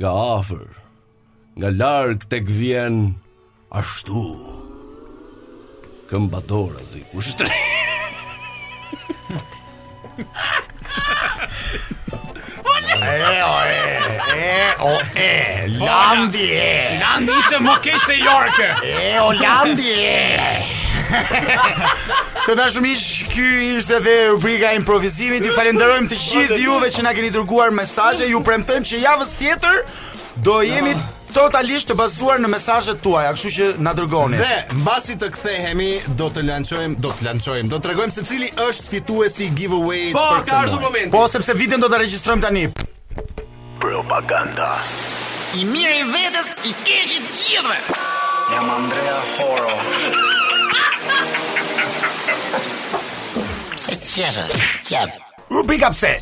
[SPEAKER 6] nga afër, nga larg tek vjen ashtu. Këmba dorazi, kushtrim.
[SPEAKER 5] O e,
[SPEAKER 7] Po,
[SPEAKER 5] Landi e,
[SPEAKER 4] Landi ishte më keq se Yorke.
[SPEAKER 5] e o Landi e. Të dashur miq, ky ishte dhe rubrika e improvisimit. Ju falenderojmë të gjithë juve që na keni dërguar mesazhe. Ju premtojmë që javës tjetër do jemi totalisht të bazuar në mesazhet tuaja, kështu që na dërgoni.
[SPEAKER 7] Dhe mbasi të kthehemi do të lançojmë, do të lançojmë, do të tregojmë se cili është fituesi i giveaway
[SPEAKER 6] Po, ka
[SPEAKER 7] për këtë
[SPEAKER 6] ardhur
[SPEAKER 7] muaj.
[SPEAKER 6] momenti.
[SPEAKER 5] Po sepse vitën do ta regjistrojmë tani.
[SPEAKER 2] I mirë i vetës, i keq i të gjithëve. Jam Andrea Horo.
[SPEAKER 8] Se qeshe, qep.
[SPEAKER 5] Rubrika pse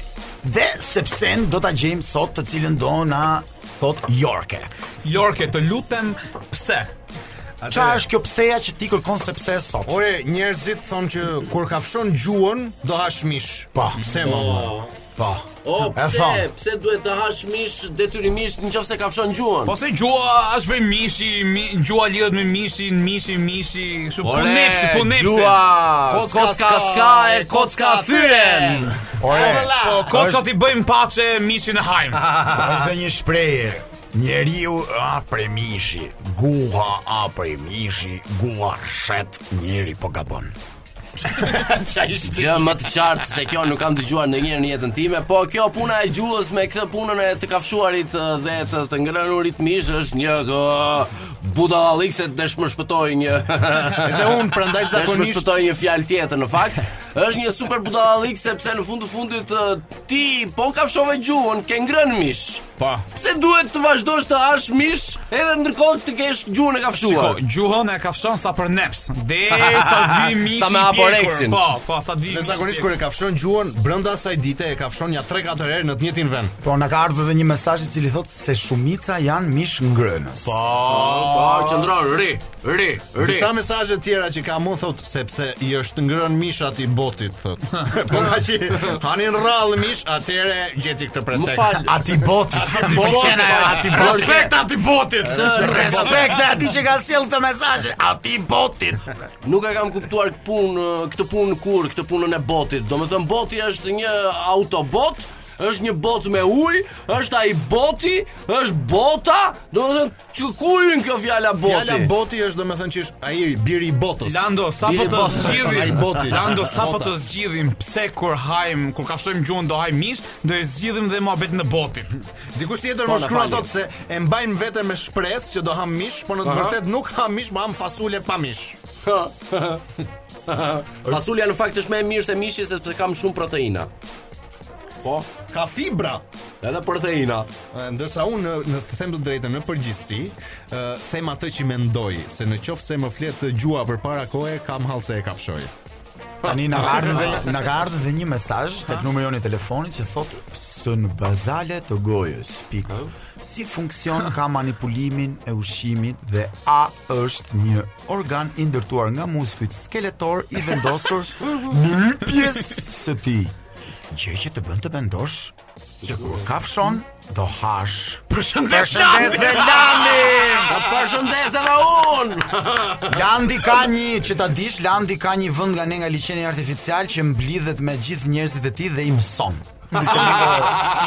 [SPEAKER 5] Dhe sepse do ta gjejmë sot të cilën do na thot jo. Yorke.
[SPEAKER 4] Yorke, të lutem, pse?
[SPEAKER 5] Qa është kjo pseja që ti kërkon se pse e sot?
[SPEAKER 7] Ore, njerëzit thonë që kur ka fshon gjuhën, do hash mish.
[SPEAKER 5] Po.
[SPEAKER 7] Pse mama?
[SPEAKER 5] Po.
[SPEAKER 6] O,
[SPEAKER 5] E
[SPEAKER 6] pse,
[SPEAKER 5] thon.
[SPEAKER 6] pse duhet të hash mish detyrimisht në qofë se ka fshon gjuhën?
[SPEAKER 4] Po se gjua është për mishi, mi, gjua lidhet me mishin, mishi, mishi, kështu po punepsi, punepsi.
[SPEAKER 6] Po kocka, ska, ska, e kocka thyren!
[SPEAKER 5] Ore,
[SPEAKER 4] Po kockat i bëjmë paçe mishin e hajm.
[SPEAKER 5] është dhe një shprehje. Njeriu a premishi, guha a premishi, guha shet, njeri po gabon. Qa ishte?
[SPEAKER 6] Gjë më të qartë se kjo nuk kam dëgjuar ndonjëherë në jetën time, po kjo puna e gjuhës me këtë punën e të kafshuarit ë, dhe të, të ngrënurit mish është një ë, budallik se të më shpëtoi një
[SPEAKER 7] Edhe unë prandaj
[SPEAKER 6] Tash më
[SPEAKER 7] zakonisht
[SPEAKER 6] shpëtoi një fjalë tjetër në fakt. Është një super budallik sepse në fund të fundit ë, ti po kafshove gjuhën, ke ngrënë mish.
[SPEAKER 7] Po.
[SPEAKER 6] Pse duhet të vazhdosh të hash mish edhe ndërkohë të kesh gjuhën e
[SPEAKER 4] Shiko,
[SPEAKER 6] kafshuar?
[SPEAKER 4] gjuhën e kafshon sa për neps, derisa të vi mishi.
[SPEAKER 6] Sa me
[SPEAKER 4] i pjekur.
[SPEAKER 6] aporeksin.
[SPEAKER 4] Po, po, sa di.
[SPEAKER 7] Dhe
[SPEAKER 4] mishi i
[SPEAKER 7] zakonisht
[SPEAKER 4] pjekur.
[SPEAKER 7] kur e ka fshon gjuhën, brenda asaj dite e ka fshon ja 3-4 herë në të njëjtin vend.
[SPEAKER 5] Po, na ka ardhur dhe një mesazh i cili thotë se shumica janë mish ngrënës. Po,
[SPEAKER 6] Po, qëndron, ri, ri, ri.
[SPEAKER 7] Disa mesazhe të tjera që kam unë thot sepse i është ngrën mishat i botit thot. po nga që hanin rrallë mish, atëre gjeti këtë
[SPEAKER 6] Më
[SPEAKER 7] pretekst.
[SPEAKER 6] fal.
[SPEAKER 5] ati botit. Ati botit. Ati botit.
[SPEAKER 4] Respekt aty botit.
[SPEAKER 5] Respekt dhe ati që ka sjell këtë mesazh. Ati botit.
[SPEAKER 6] Nuk e kam kuptuar këtë punë, këtë punë kur, këtë punën e botit. Domethënë boti është një autobot, është një bot me ujë, është ai boti, është bota, domethënë që ku hyn kjo fjala boti?
[SPEAKER 7] Fjala boti është domethënë që është ai biri i botës.
[SPEAKER 4] Lando, sa po
[SPEAKER 6] Biri
[SPEAKER 4] të
[SPEAKER 6] botit,
[SPEAKER 7] ai
[SPEAKER 4] zgjidhim
[SPEAKER 7] botit.
[SPEAKER 4] Lando, sa po
[SPEAKER 7] Bota.
[SPEAKER 4] të zgjidhim Pse kur hajm, kur kafshojmë gjuhën do hajm mish Do e zgjidhim dhe muhabet në botit
[SPEAKER 7] Dikush tjetër më
[SPEAKER 6] Po, na
[SPEAKER 7] shkruan
[SPEAKER 6] falni.
[SPEAKER 7] thot se e mbajnë veten me shpresë që do ham mish, por në të vërtetë nuk ham mish, por ham fasule pa mish.
[SPEAKER 6] Fasulja në fakt është më e mirë se mishi sepse ka më shumë proteina.
[SPEAKER 7] Ka fibra.
[SPEAKER 6] Edhe proteina.
[SPEAKER 7] E, Ndërsa unë në, në të them të drejtën në përgjithësi, e, them atë që mendoj, se në qoftë se më flet gjua përpara kohe, kam hall se e kafshoj.
[SPEAKER 5] Tani na ka ardhur dhe na ka ardhur dhe një mesazh tek numri jonë i telefonit që thotë së në bazale të gojës. Pik. Si funksion ka manipulimin e ushqimit dhe a është një organ i ndërtuar nga muskujt skeletor i vendosur në një pjesë së tij. Gjë që të bën të mendosh që kur kafshon do hash.
[SPEAKER 4] Përshëndesh
[SPEAKER 5] Shëndes dhe Landi!
[SPEAKER 6] Përshëndes edhe unë.
[SPEAKER 5] Landi ka një, që ta dish, Landi ka një vend nga ne nga liçeni artificial që mblidhet me gjithë njerëzit e tij dhe i mëson.
[SPEAKER 4] I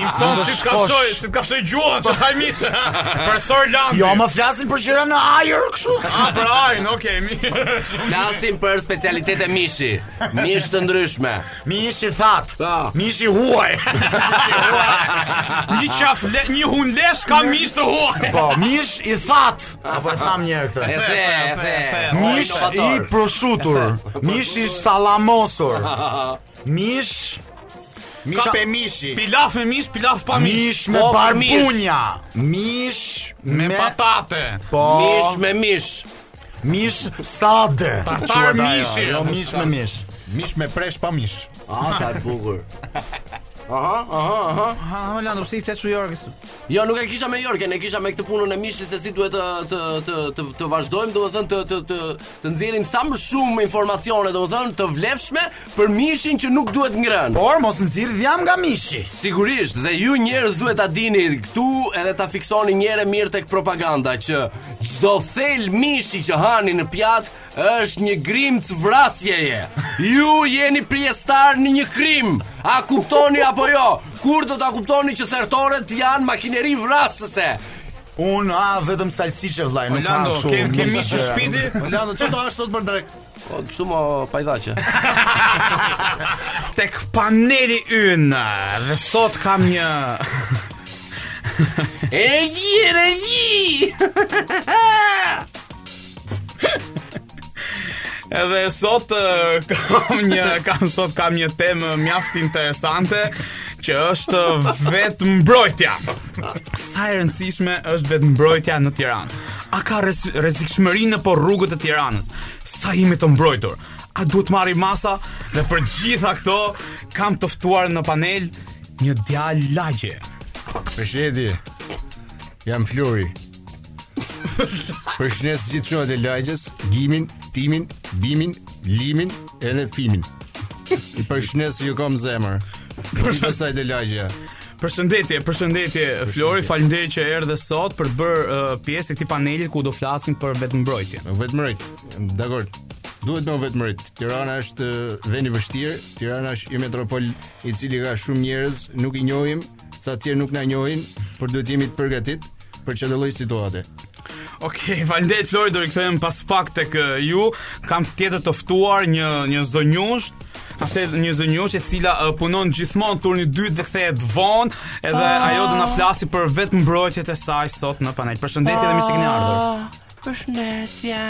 [SPEAKER 4] mëson si të kafshoj, si të kafshoj gjuhën, që haj misë. Profesor Landi.
[SPEAKER 5] Jo, më flasin për gjëra në ajër kështu.
[SPEAKER 4] Ah, për ajin, okej, mirë.
[SPEAKER 6] Flasim për specialitete mishi. Mish të ndryshme.
[SPEAKER 5] Mishi that.
[SPEAKER 6] Ta.
[SPEAKER 5] Mishi huaj.
[SPEAKER 4] Një qaf, le, një hun lesh ka mish të huaj.
[SPEAKER 5] Po, mish i that. Apo e tham një herë
[SPEAKER 6] E
[SPEAKER 5] këtë.
[SPEAKER 6] the, e the.
[SPEAKER 5] Mish
[SPEAKER 6] O,
[SPEAKER 5] i
[SPEAKER 6] inovator.
[SPEAKER 5] proshutur. Mish i sallamosur. Mish
[SPEAKER 7] Kape mishi. Po,
[SPEAKER 4] Pilaf me mish, pilaf pa mish.
[SPEAKER 5] Mish me
[SPEAKER 6] Kokë
[SPEAKER 5] barbunja Mish me,
[SPEAKER 4] Me patate.
[SPEAKER 5] po,
[SPEAKER 6] Mish me mish.
[SPEAKER 5] Mish sade
[SPEAKER 4] Tartar mishi.
[SPEAKER 5] Jo mish me mish
[SPEAKER 7] Mish me presh pa mish.
[SPEAKER 6] A, ka bukur.
[SPEAKER 9] Ha, Orlando, pse i flet shujorës?
[SPEAKER 6] Jo, nuk e kisha me Jorgen, e kisha me këtë punën e mishit se si duhet të të të të, të vazhdojmë, domethënë të të të të nxjerrim sa më shumë informacione, domethënë të vlefshme për mishin që nuk duhet ngrënë.
[SPEAKER 5] Por mos nëzirë dhjam nga mishi
[SPEAKER 6] Sigurisht, dhe ju njerëz duhet ta dini këtu edhe ta fiksoni një herë mirë tek propaganda që çdo thel mishi që hani në pjatë është një grimcë vrasjeje. Ju jeni pjesëtar në një krim. A kuptoni apo jo? Kur do ta kuptoni që thertorët janë makineri vrasëse?
[SPEAKER 5] Unë a vetëm salsiqe vllai, nuk kam
[SPEAKER 4] Orlando,
[SPEAKER 5] kështu
[SPEAKER 4] ke ke
[SPEAKER 5] mish
[SPEAKER 4] mish në
[SPEAKER 5] që-
[SPEAKER 4] shtëpi?
[SPEAKER 7] Orlando, çfarë do hash sot për drek?
[SPEAKER 6] Po kështu mo pajdaqe.
[SPEAKER 4] Tek paneli ynë, dhe sot kam një...
[SPEAKER 6] E gjirë, e gjirë!
[SPEAKER 4] Edhe sot eh, kam një kam sot kam një temë mjaft interesante që është vetëm mbrojtja. Sa e rëndësishme është vetëm mbrojtja në Tiranë? A ka rez- rrezikshmëri në po rrugët e Tiranës? Sa jemi të mbrojtur? A duhet marrim masa? Dhe për gjitha këto kam të ftuar në panel një djalë lagje.
[SPEAKER 7] Përshëndetje. Jam Flori. Përshëndes gjithë shunat e lagjes, gimin, timin, bimin, limin edhe fimin. I përshëndes se ju kam zemër. Përshëndes pastaj te lagja.
[SPEAKER 4] Përshëndetje, përshëndetje Flori, faleminderit që erdhe sot për të bërë eh, pjesë e këtij panelit ku do flasim për vetëmbrojtje.
[SPEAKER 7] Me vetmërit. Dakor. Duhet me vetmërit. Tirana është eh, vend i vështirë. Tirana është një metropol i cili ka shumë njerëz, nuk i njohim, sa tjerë nuk na njohin, por duhet jemi të përgatitur për çdo lloj situate.
[SPEAKER 4] Okej, faleminderit Flori, do rikthehem pas pak tek eh, ju. Kam tjetër të ftuar një një zonjush, kam tjetër një zonjush e cila eh, punon gjithmonë turni dytë dhe kthehet vonë, edhe
[SPEAKER 6] Ah.
[SPEAKER 4] ajo do na flasi për vetëmbrojtjet e saj sot në panel. Përshëndetje dhe mirë se keni
[SPEAKER 6] Ah.
[SPEAKER 4] ardhur.
[SPEAKER 6] Përshëndetje.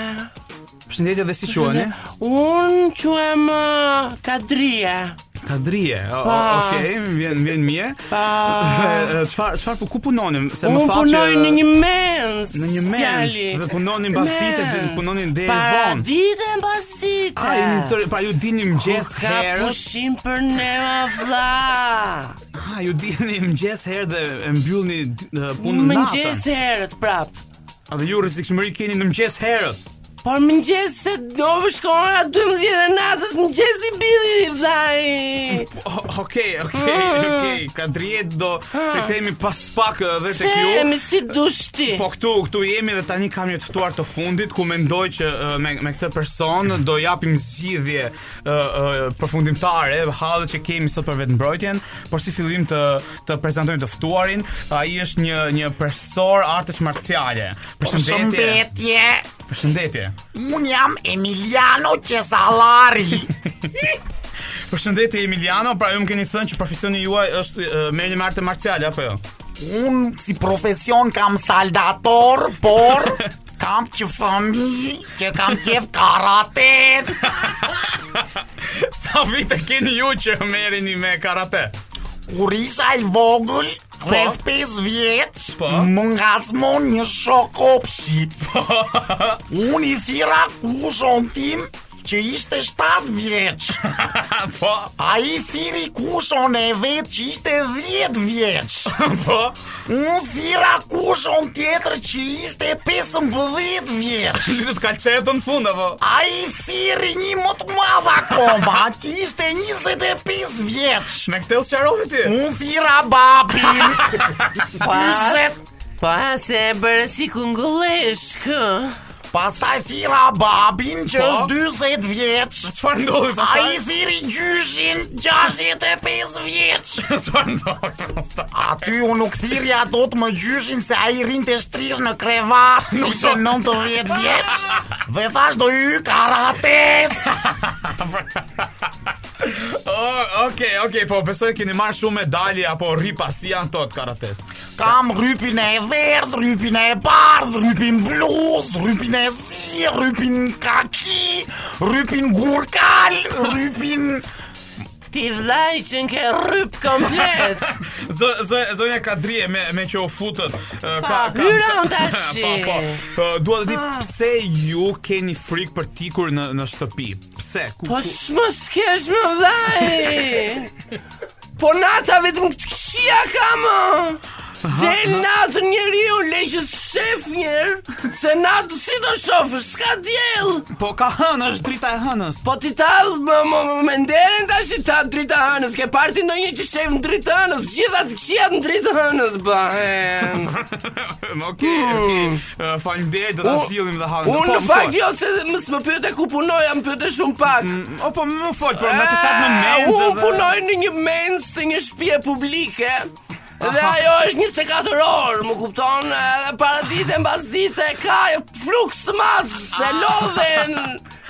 [SPEAKER 4] Përshëndetje dhe si quheni?
[SPEAKER 6] Unë quhem ah, Kadria.
[SPEAKER 4] Kadrije. O- o-
[SPEAKER 6] Pa.
[SPEAKER 4] Okej, më vjen më vjen mirë. Dhe, eh, Çfar çfarë po ku punoni? Se më uh,
[SPEAKER 6] Unë
[SPEAKER 4] tha
[SPEAKER 6] punoj
[SPEAKER 4] që
[SPEAKER 6] në një mens.
[SPEAKER 4] në një mens
[SPEAKER 6] djali.
[SPEAKER 4] dhe punonin mbas ditës dhe
[SPEAKER 6] Mens.
[SPEAKER 4] punonin deri
[SPEAKER 6] Para
[SPEAKER 4] vonë.
[SPEAKER 6] ditën mbas ditës.
[SPEAKER 4] Ai, pra ju dini mëngjes
[SPEAKER 6] Ku ka
[SPEAKER 4] herët.
[SPEAKER 6] pushim për neva vlla.
[SPEAKER 4] Ha, ju dini mëngjes herë dhe e mbyllni d- e, punën natën.
[SPEAKER 6] Mëngjes herët prap.
[SPEAKER 4] A dhe ju rrezikshmëri keni në mëngjes herët.
[SPEAKER 6] Por mëngjes se dove shkon nga 12 e natës, mëngjes i bili vllai.
[SPEAKER 4] O- Okej, okej,
[SPEAKER 6] Ah.
[SPEAKER 4] okej. Kadriet do rikthehemi pas pak e, dhe tek ju.
[SPEAKER 6] Se mi si dush ti.
[SPEAKER 4] Po këtu, këtu jemi dhe tani kam një të ftuar të fundit ku mendoj që e, me, me këtë person do japim zgjidhje e, e, përfundimtare hallet që kemi sot për vetëmbrojtjen, por si fillim të të prezantojmë të ftuarin, ai është një një profesor artesh marciale. Përshëndetje.
[SPEAKER 5] Përshëndetje.
[SPEAKER 4] Përshëndetje.
[SPEAKER 5] Unë jam Emiliano Qesallari.
[SPEAKER 4] Përshëndetje Emiliano, pra ju më keni thënë që profesioni juaj është e, merrni me arte marciale apo jo?
[SPEAKER 5] Unë si profesion kam saldator, por kam që fëmi që kam qef karate.
[SPEAKER 4] Sa vite keni ju që merreni me karate?
[SPEAKER 5] Kur isha i vogël, rreth 5 vjeç,
[SPEAKER 4] Po.
[SPEAKER 5] më ngacmon një shok opshi. Unë i thira kushon tim që ishte 7 vjeç.
[SPEAKER 4] po,
[SPEAKER 5] A i thiri kushon e vetë që ishte 10 vjeç.
[SPEAKER 4] po.
[SPEAKER 5] Unë thira kushon tjetër që ishte 15 vjeç.
[SPEAKER 4] Lytet kalçetën në fund apo?
[SPEAKER 5] A i thiri një më të madha koma, që ishte 25 vjeç.
[SPEAKER 4] Me këtë u sqarove ti.
[SPEAKER 5] Unë thira babin, 20
[SPEAKER 10] Po,
[SPEAKER 6] Pa se e bërë si kunguleshkë.
[SPEAKER 2] Pastaj thira babin që
[SPEAKER 4] Po?
[SPEAKER 2] është 40 vjeç.
[SPEAKER 4] Çfarë ndodhi pastaj?
[SPEAKER 2] Ai thiri gjyshin 65 vjeç.
[SPEAKER 4] Çfarë ndodhi pastaj?
[SPEAKER 2] Aty unë nuk thirja dot më gjyshin se ai rrinte shtrirë në krevat,
[SPEAKER 4] Po.
[SPEAKER 2] ishte 90 vjeç. Dhe thash do hy karates.
[SPEAKER 4] Oh, okay, okay, po besoj keni marrë shumë medalje apo ripa si janë tot karates.
[SPEAKER 2] Kam rrypin e verdh, rrypin e bardh, rrypin bluz, rrypin e zi, rrypin kaki, rrypin gurkal, rrypin...
[SPEAKER 10] Ti vllaj që nke rryp komplet.
[SPEAKER 4] Z- z- Zonja Kadrie me me që u futët eh, ka ka.
[SPEAKER 10] hyram tash.
[SPEAKER 4] Po, po. Po, Dua të di pse ju keni frikë për tikur në në shtëpi. Pse? Ku,
[SPEAKER 10] Po
[SPEAKER 4] ku-
[SPEAKER 10] shmo s'kesh më vllaj. Po nata vetëm këtë këshia ka më. Del natë njeriu leqës shef njerë Se natë si do shofësh, s'ka djelë
[SPEAKER 4] po ka hënë, është drita e hënës.
[SPEAKER 10] Po ti tall më më më më nderen tash i ta drita hënës, ke parti ndonjë që shef në dritë hënës, gjitha të këqija në dritë hënës bëhen.
[SPEAKER 4] Okej, okej. Eh, Faleminderit, do ta
[SPEAKER 10] U-
[SPEAKER 4] sillim dhe hanë.
[SPEAKER 10] Unë
[SPEAKER 4] Po,
[SPEAKER 10] në
[SPEAKER 4] më
[SPEAKER 10] fakt
[SPEAKER 4] fol.
[SPEAKER 10] jo se më s'më pyete ku punoj, a më pyete shumë pak.
[SPEAKER 4] O po më fol, por më të thatë në
[SPEAKER 10] E,
[SPEAKER 4] menzë.
[SPEAKER 10] Unë punoj në një mens të një shtëpie publike. Dhe ajo është 24 orë, më kupton, edhe para dite mbas dite ka fluks të madh se
[SPEAKER 4] Ah.
[SPEAKER 10] lodhen,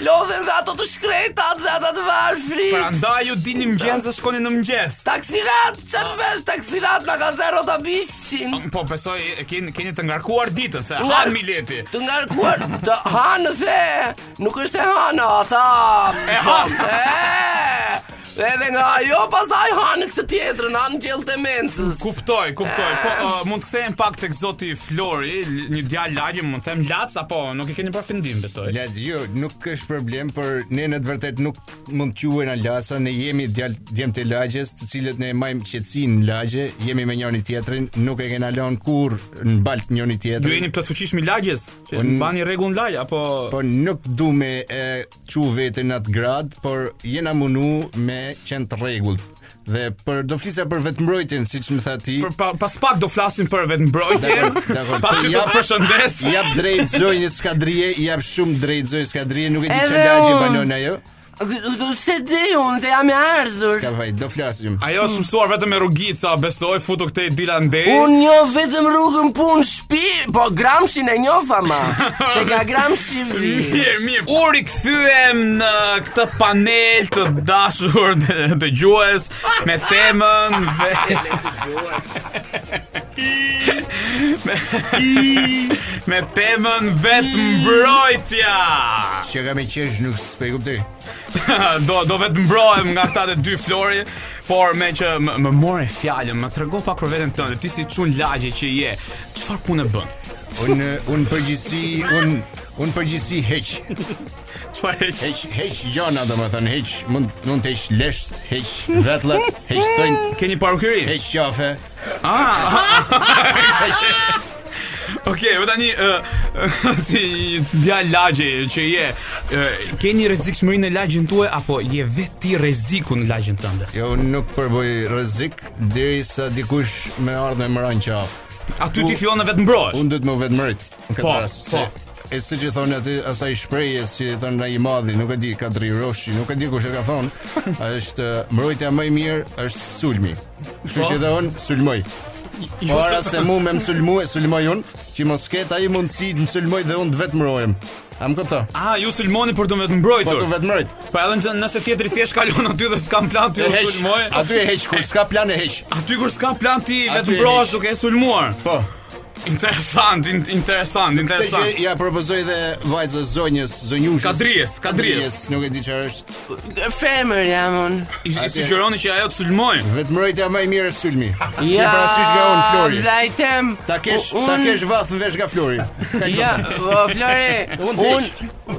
[SPEAKER 10] lodhen dhe ato të shkretat dhe ata të varfrit.
[SPEAKER 4] Prandaj ju dini mëngjes dhe shkoni në mëngjes.
[SPEAKER 10] Taksirat, çfarë
[SPEAKER 4] Ah.
[SPEAKER 10] vesh taksirat na ka zero ta bishtin.
[SPEAKER 4] Po besoj e keni keni të ngarkuar ditën se
[SPEAKER 10] Ngar-
[SPEAKER 4] han mileti.
[SPEAKER 10] Të ngarkuar, të hanë se nuk është e hanë ata.
[SPEAKER 4] E hanë.
[SPEAKER 10] E, Edhe nga ajo pasaj hanë këtë tjetrën, hanë gjellë të mencës.
[SPEAKER 4] Kuptoj, kuptoj. Po uh, mund të kthehem pak tek zoti Flori, l- një djalë lagje, mund të them lac apo nuk e keni përfundim besoj.
[SPEAKER 7] Ja, jo, nuk është problem, për ne në të vërtet nuk mund të quhen alasa, ne jemi djal- djemt e lagjes, të cilët ne majmë qetësinë në lagje, jemi me njëri tjetrin, nuk e kena lënë kurr në balt njëri
[SPEAKER 4] Ju
[SPEAKER 7] tjetrin.
[SPEAKER 4] jeni plot fuqishëm i lagjes, që
[SPEAKER 7] Un-
[SPEAKER 4] mbani rregull lagje apo
[SPEAKER 7] Po nuk du me e qu veten në atë grad, por jena munu me qenë të rregullt. Dhe për do flisa për vetëmbrojtjen, siç më tha ti.
[SPEAKER 4] Për, pa, pas pak do flasim për vetëmbrojtjen.
[SPEAKER 7] Dakor, dakor.
[SPEAKER 4] Pasi do
[SPEAKER 7] Jap-
[SPEAKER 4] të përshëndes.
[SPEAKER 7] Jap drejt zonjës Skadrie, jap shumë drejt zonjës Skadrie, nuk e di
[SPEAKER 10] Edhe
[SPEAKER 7] çfarë lagje
[SPEAKER 10] unë.
[SPEAKER 7] banon ajo.
[SPEAKER 4] Ah.
[SPEAKER 10] Se di unë, se jam e ardhur.
[SPEAKER 7] Ka vaj, do flasim.
[SPEAKER 4] Ajo është mësuar vetëm me rrugica, besoj futu këtej dilandej.
[SPEAKER 10] Unë njo vetëm rrugën punë shpi, po gramshin e njofa ma, se ka gramshi vi.
[SPEAKER 4] Mirë, mirë. U rikthyem në këtë panel të dashur dë- dëgjues me temën ve... me, me temën vetëmbrojtja.
[SPEAKER 7] Që ka me qesh nuk s'pe kuptoj.
[SPEAKER 4] do do vetëmbrohem nga këta të dy Flori, por me që më, më more fjalën, më trego pak për veten tënde. Ti si çun lagje që je. Çfarë punë bën?
[SPEAKER 7] Unë un përgjithsi, un un përgjithsi heq.
[SPEAKER 4] Çfarë e
[SPEAKER 7] Heq heq gjana domethënë, heq mund mund të heq lesht, heq vetlla, heq thënë,
[SPEAKER 4] Keni parukëri?
[SPEAKER 7] heq qafe.
[SPEAKER 4] Okej, okay, tani ë si djalë lagje që je, uh, ke një rrezikshmërinë në lagjën tuaj apo je vetë ti rreziku në lagjën tënde?
[SPEAKER 7] Jo, unë nuk përboj rrezik derisa dikush më ardh me mëran qaf.
[SPEAKER 4] Aty ti fillon vetë mbrohesh.
[SPEAKER 7] Unë duhet më vetmërit në këtë
[SPEAKER 4] Po,
[SPEAKER 7] rast.
[SPEAKER 4] po.
[SPEAKER 7] se- E si që thonë aty asaj shprehje si e thonë ai i madhi, nuk e di Kadri Roshi, nuk e di kush e ka thonë. Është mbrojtja më e mirë është sulmi. Kështu
[SPEAKER 4] Po.
[SPEAKER 7] që dhe unë sulmoj. Po ara se mu me më sulmu e sulmoj unë, që mos ketë ai mundësi të më sulmoj dhe unë të vetmërohem. A më këta?
[SPEAKER 4] Ah, ju sulmoni për të vetë
[SPEAKER 7] Po
[SPEAKER 4] mbrojtur.
[SPEAKER 7] të vetmërit.
[SPEAKER 4] Po edhe në- nëse tjetri thjesht kalon aty dhe s'kan plan ti
[SPEAKER 7] E
[SPEAKER 4] u
[SPEAKER 7] heq.
[SPEAKER 4] sulmoj.
[SPEAKER 7] Aty e heq kur s'ka plan e heq.
[SPEAKER 4] Aty kur s'kan plan ti
[SPEAKER 7] Aty
[SPEAKER 4] vetë
[SPEAKER 7] e
[SPEAKER 4] mbrohesh
[SPEAKER 7] heq.
[SPEAKER 4] duke e sulmuar.
[SPEAKER 7] Po.
[SPEAKER 4] Interesant, in, interesant,
[SPEAKER 7] Dhe që
[SPEAKER 4] interesant.
[SPEAKER 7] ja propozoj dhe vajzës zonjës, zonjushës.
[SPEAKER 4] Kadries, Kadries.
[SPEAKER 7] Nuk e di çfarë është.
[SPEAKER 10] Femër jam unë.
[SPEAKER 4] I, i
[SPEAKER 7] Atje.
[SPEAKER 4] sugjeroni që ajo të sulmoj.
[SPEAKER 7] Vetmërojtja më e mirë është sulmi. Ke parasysh pra nga unë Flori.
[SPEAKER 10] vlajtem.
[SPEAKER 7] Ta kesh, ta
[SPEAKER 10] Ah, unë-
[SPEAKER 7] kesh vath në vesh nga Flori. Ka që
[SPEAKER 10] Ja, o, Flore,
[SPEAKER 7] Unë
[SPEAKER 10] unë
[SPEAKER 7] t'heq.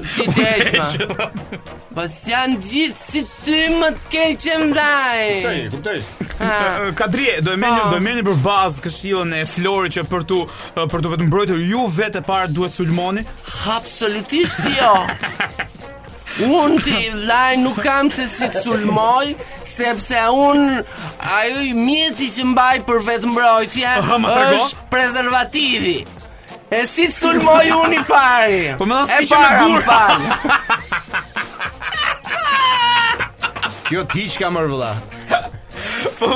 [SPEAKER 10] si t'heq, ma. Po s'janë gjithë si ty më t'keqem daj.
[SPEAKER 7] kuptoj, kuptoj.
[SPEAKER 4] Ë, Kadri, do e merrni
[SPEAKER 10] Ah.
[SPEAKER 4] do e merrni për bazë këshillën e Flori që për tu ë, për tu vetëm mbrojtur ju vetë e parë duhet sulmoni.
[SPEAKER 10] Absolutisht jo. Unë ti vlaj nuk kam se si të sulmoj Sepse unë Ajo i mjeti që mbaj për vetë mbrojtje
[SPEAKER 4] Aha, ma trego.
[SPEAKER 10] është prezervativi E si të sulmoj unë i pari
[SPEAKER 4] Po më dha
[SPEAKER 10] E
[SPEAKER 4] s'kiqe me
[SPEAKER 10] para më
[SPEAKER 4] gur.
[SPEAKER 10] falë
[SPEAKER 7] Kjo t'hiq ka mërë vëlla
[SPEAKER 4] Po,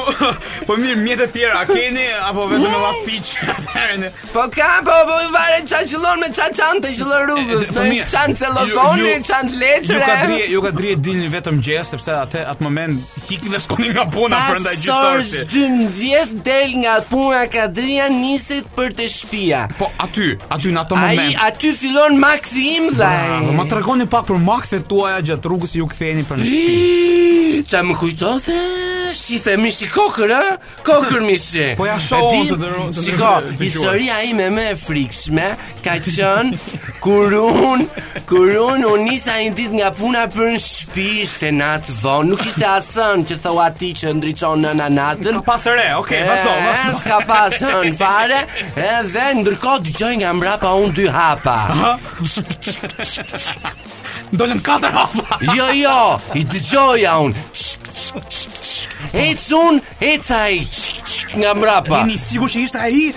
[SPEAKER 4] po mirë, mjetë të tjera, a keni apo vetëm me lastiq? Atëherë,
[SPEAKER 10] Po ka, po, po i vare qa qëllon me qa qanë të qëllon rrugës
[SPEAKER 4] Po
[SPEAKER 10] Në
[SPEAKER 4] mirë.
[SPEAKER 10] qanë
[SPEAKER 4] Ju-
[SPEAKER 10] celofoni,
[SPEAKER 4] ju-
[SPEAKER 10] qanë
[SPEAKER 4] Ju ka
[SPEAKER 10] letre
[SPEAKER 4] drije, ju ka drije dilni vetëm gjes, sepse atë atë moment hiki dhe shkoni nga puna prandaj
[SPEAKER 10] Pasorës
[SPEAKER 4] gjithsorsi.
[SPEAKER 10] 12 del nga puna kadria nisit për të shpia
[SPEAKER 4] Po aty, aty në atë
[SPEAKER 10] Ai
[SPEAKER 4] moment.
[SPEAKER 10] aty fillon Maxi im dhe
[SPEAKER 4] Bravo, ma tregoni pak për makthet tuaja gjatë rrugës që ju ktheheni për në shtëpi.
[SPEAKER 10] Qa më kujtove? Shife mishi kokër, a? Kokër mishi.
[SPEAKER 4] Po ja shoh
[SPEAKER 10] E di-
[SPEAKER 4] unë të dëro- të
[SPEAKER 10] Shiko,
[SPEAKER 4] dëro- të
[SPEAKER 10] historia ime më e frikshme ka qënë kur unë, kur unë u nisa një ditë nga puna për në shtëpi, ishte natë vonë, nuk ishte asën që thua ti që ndriçon nëna natën.
[SPEAKER 4] Ka Pas re, okay, vazhdo,
[SPEAKER 10] E,
[SPEAKER 4] vazhdo.
[SPEAKER 10] S'ka pasën fare Edhe ndërkohë dëgjoj nga mbrapa unë dy hapa
[SPEAKER 4] Dolën katër hapa.
[SPEAKER 10] Jo, jo, i dëgjoja unë Ec unë, ec a i nga mrapa
[SPEAKER 4] Jeni sigurt që ishte ai?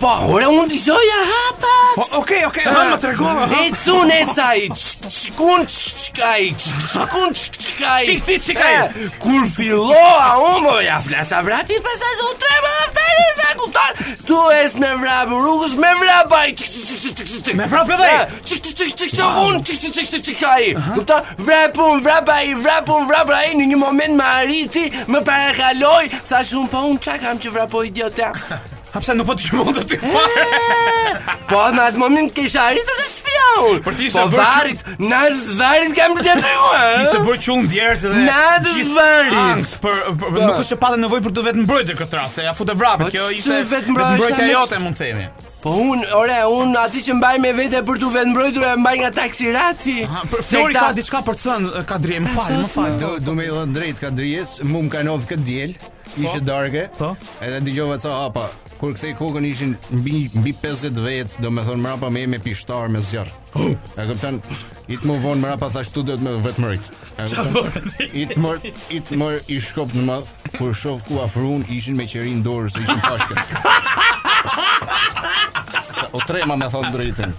[SPEAKER 10] Po, ore, unë dëgjoja hapa
[SPEAKER 4] Po, okay, okay, ha, më tregova. ha.
[SPEAKER 10] Ec unë, ec a i Qikun, qikaj, qikun, qikaj
[SPEAKER 4] Qik, ti, qik ai.
[SPEAKER 10] Kur filloa unë, mo, ja flasa vrapi Pasaj se u treba aftari, sa kuptar Tu ec me vrapë rrugës, me vrapë a i
[SPEAKER 4] Me vrapë edhe ai?
[SPEAKER 10] Çik çik çik çik çik un çik çik çik çik çik ai. Kupton? Vrapun vrapaj, vrapun vrapaj në një moment më arriti, më para kaloi, thash un po un çka kam që vrapoj idiota.
[SPEAKER 4] Ha pse nuk po të shmon të ty fare?
[SPEAKER 10] Po në atë moment kisha arritur të shtëpia unë.
[SPEAKER 4] Për ti ishe
[SPEAKER 10] po
[SPEAKER 4] bërë-
[SPEAKER 10] varit, në varit kam për të treguar.
[SPEAKER 4] Ishte bërë qumë djerës edhe
[SPEAKER 10] Na dhe
[SPEAKER 4] gjithë Ah.
[SPEAKER 10] zvarit.
[SPEAKER 4] angst për, për, për nuk është që patë nevojë për të vetë mbrojtë këtë rast, se ja futë vrapë,
[SPEAKER 10] Po
[SPEAKER 4] kjo
[SPEAKER 10] që
[SPEAKER 4] ishte
[SPEAKER 10] vetëmbrojtja
[SPEAKER 4] vetëmbrojtja
[SPEAKER 10] me-
[SPEAKER 4] jote mund të themi.
[SPEAKER 10] Po un, ore, un aty që mbaj me vete për tu vetë mbrojtur e mbaj nga taksirati.
[SPEAKER 4] Ha, për,
[SPEAKER 10] Se
[SPEAKER 4] Flori
[SPEAKER 10] këta-
[SPEAKER 4] ka diçka për të thënë, ka drije, më falë, më falë.
[SPEAKER 7] Do, do me i dhënë drejt ka drijes Mu më ka nodhë këtë djel Ishe darke
[SPEAKER 4] Po.
[SPEAKER 7] Edhe dëgjova ca hapa Kur kthej kokën ishin mbi, mbi 50 vetë Do me thonë mrapa me me pishtar me zjarr. E këptan I të më vonë mrapa thash tu do të me vetë mërit E këptan I të mër I të mër i shkop në madh Kur shoh ku afrun ishin me qerin dorë Se ishin pashke O trema me thonë drejtën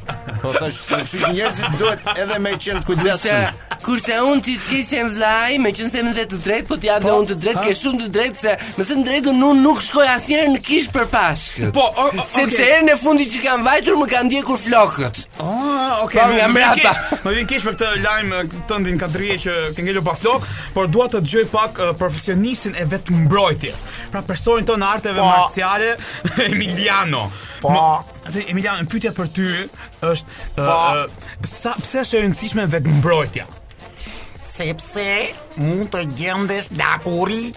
[SPEAKER 7] Po thash kështu që njerëzit duhet edhe me qenë të
[SPEAKER 10] Se,
[SPEAKER 7] kujdesshëm
[SPEAKER 10] kurse unë ti të keqem vlaj, me qënë se më dhe të drejtë, po t'ja dhe unë të drejtë, ke shumë të drejtë, se me thënë drejtën unë nuk shkoj asnjëherë në kish për pashkët.
[SPEAKER 4] Po, o, o,
[SPEAKER 10] Sepse
[SPEAKER 4] okay.
[SPEAKER 10] herën e fundit që kam vajtur më kanë ndjekur flokët.
[SPEAKER 4] Ah, okay.
[SPEAKER 10] Po,
[SPEAKER 4] më-
[SPEAKER 10] nga
[SPEAKER 4] më vjen
[SPEAKER 10] mbrapa.
[SPEAKER 4] keq- Më vjen keq për këtë lajm tëndin ka drije që ke ngelur pa flok, por dua të dëgjoj pak eh, profesionistin e vetëmbrojtjes. Pra personin tonë arteve
[SPEAKER 10] Po.
[SPEAKER 4] marciale Emiliano. Po. Atë Emiliano, pyetja për ty është eh,
[SPEAKER 10] Po.
[SPEAKER 4] eh, sa pse është e rëndësishme vetëmbrojtja?
[SPEAKER 2] sepse mund të gjendesh lakuriq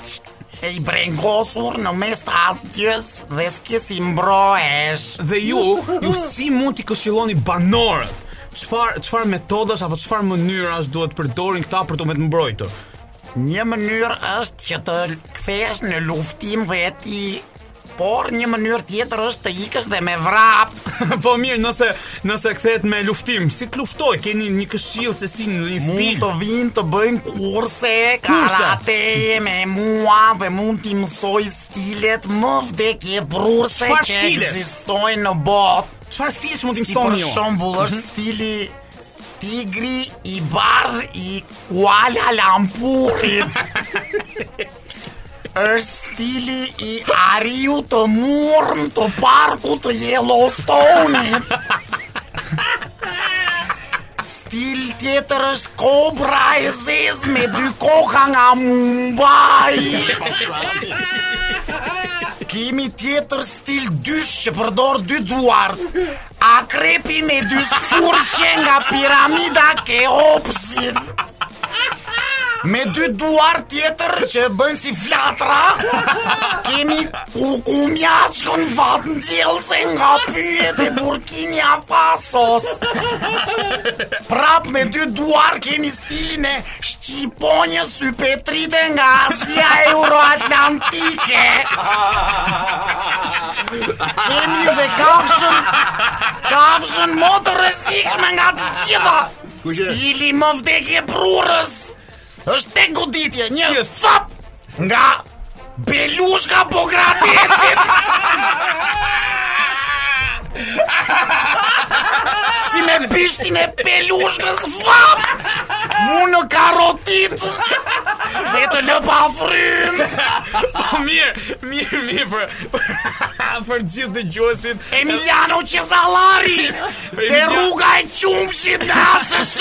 [SPEAKER 2] e i brengosur në mes të asgjës dhe s'ke si mbrohesh.
[SPEAKER 4] Dhe ju,
[SPEAKER 2] Jo.
[SPEAKER 4] ju si mund t'i këshilloni banorët? Çfar çfarë metodash apo çfarë mënyrash duhet të përdorin këta për të vetëmbrojtur?
[SPEAKER 2] Një mënyrë është që të kthesh në luftim dhe ti Por një mënyrë tjetër është të ikësh dhe me vrap.
[SPEAKER 4] Po mirë, nëse nëse kthehet me luftim, si të luftoj? Keni një këshill se si në një
[SPEAKER 2] Mund
[SPEAKER 4] stil?
[SPEAKER 2] të vinë të bëjnë kurse
[SPEAKER 4] Kurse?
[SPEAKER 2] karate me mua dhe mund t'i mësoj stilet më vdekje brurse
[SPEAKER 4] Çfarë
[SPEAKER 2] që
[SPEAKER 4] stile?
[SPEAKER 2] ekzistojnë në botë.
[SPEAKER 4] Çfarë stili që mund të
[SPEAKER 2] Si për
[SPEAKER 4] mësoni ju? Mhm.
[SPEAKER 2] shembull është stili tigri i bardh i Kuala Lumpurit. është stili i ariu të murm të parku të Yellowstone-it. Stil tjetër është kobra e zez me dy koka nga Mumbai. Kimi tjetër stil dysh që përdor dy duart Akrepi me dy sfurqe nga piramida Keopsit Me dy duart tjetër që bëjnë si flatra Kemi kukumjaqën fatë ndjelëse nga pyjet e Burkini Fasos Prap me dy duar kemi stilin e Shqiponjës sypetrite nga Asia Euroatlantike Kemi dhe kafshën Kafshën më të rëzikshme nga të gjitha Stili më vdekje prurës është tek goditje Një
[SPEAKER 4] Si është?
[SPEAKER 2] fap Nga Belushka Bogradecit
[SPEAKER 5] si me bishtin e pelushkës vap Mu në karotit Dhe të lë pa frym
[SPEAKER 4] Po mirë, mirë, mirë për për- për gjithë dëgjuesit.
[SPEAKER 5] Emiliano Cesallari Dhe rruga e qumshit në ASSH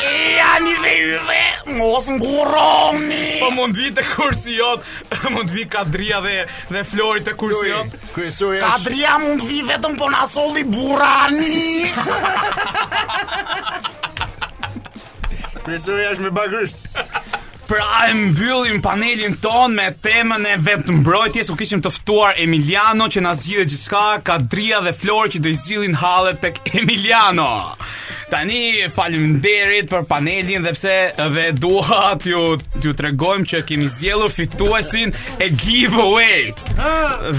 [SPEAKER 5] E janë i dhe yve Mos nguroni
[SPEAKER 4] Po mund vi të kursi jot, mund vi Kadria dhe dhe Flori të kursi jot.
[SPEAKER 7] Kryesori është
[SPEAKER 5] Kadria mund vi vetëm po na solli burani
[SPEAKER 7] kryesori është me bagrysht.
[SPEAKER 4] Pra e mbyllim panelin ton me temën e vetëmbrojtjes, ku kishim të ftuar Emiliano që na zgjidhë gjithçka, Kadria dhe Flori që do i zgjidhin hallet tek Emiliano. Tani faleminderit për panelin dhe pse dhe dua t'ju t'ju tregojmë që kemi zgjedhur fituesin e giveaway.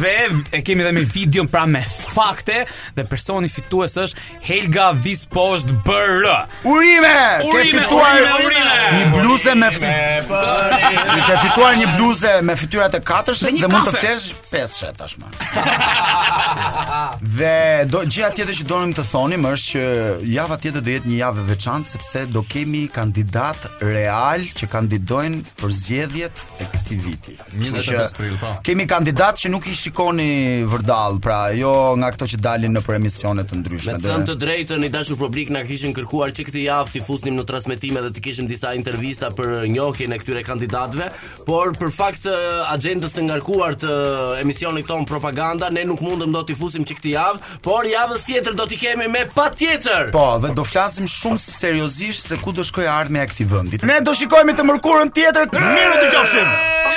[SPEAKER 4] Dhe e kemi edhe me video pra me fakte dhe personi fitues është Helga Vispost BR.
[SPEAKER 5] Urime! Ke
[SPEAKER 4] Urime,
[SPEAKER 5] fituar
[SPEAKER 4] urime, urime!
[SPEAKER 5] një bluze me fti. Ke fituar një bluze me fytyrat e katërshës
[SPEAKER 4] një
[SPEAKER 5] dhe mund të
[SPEAKER 4] kafe.
[SPEAKER 5] flesh peshe tashmë. dhe do gjëja tjetër që donim të thonim është që java tjetër do jetë një javë e veçantë sepse do kemi kandidat real që kandidojnë për zgjedhjet e këtij viti.
[SPEAKER 7] 25 prill, po.
[SPEAKER 5] Kemi kandidat që nuk i shikoni vërdall, pra jo nga këto që dalin nëpër emisione të
[SPEAKER 6] Me
[SPEAKER 5] ndryshme.
[SPEAKER 6] të
[SPEAKER 5] Dhe-
[SPEAKER 6] thënë të drejtën, i dashur publik na kishin kërkuar që këtë javë t'i fusnim në transmetime dhe të kishim disa intervista për njohjen e këtyre kandidatëve, por për fakt të agjendës të ngarkuar të emisionit ton propaganda, ne nuk mundëm do t'i fusim që këtë javë, por javës tjetër do t'i kemi me patjetër.
[SPEAKER 5] Po, dhe do flasim shumë si seriozisht se ku do shkojë ardhmja e këtij vendi. Ne do shikojmë të mërkurën tjetër. Mirë dëgjofshim.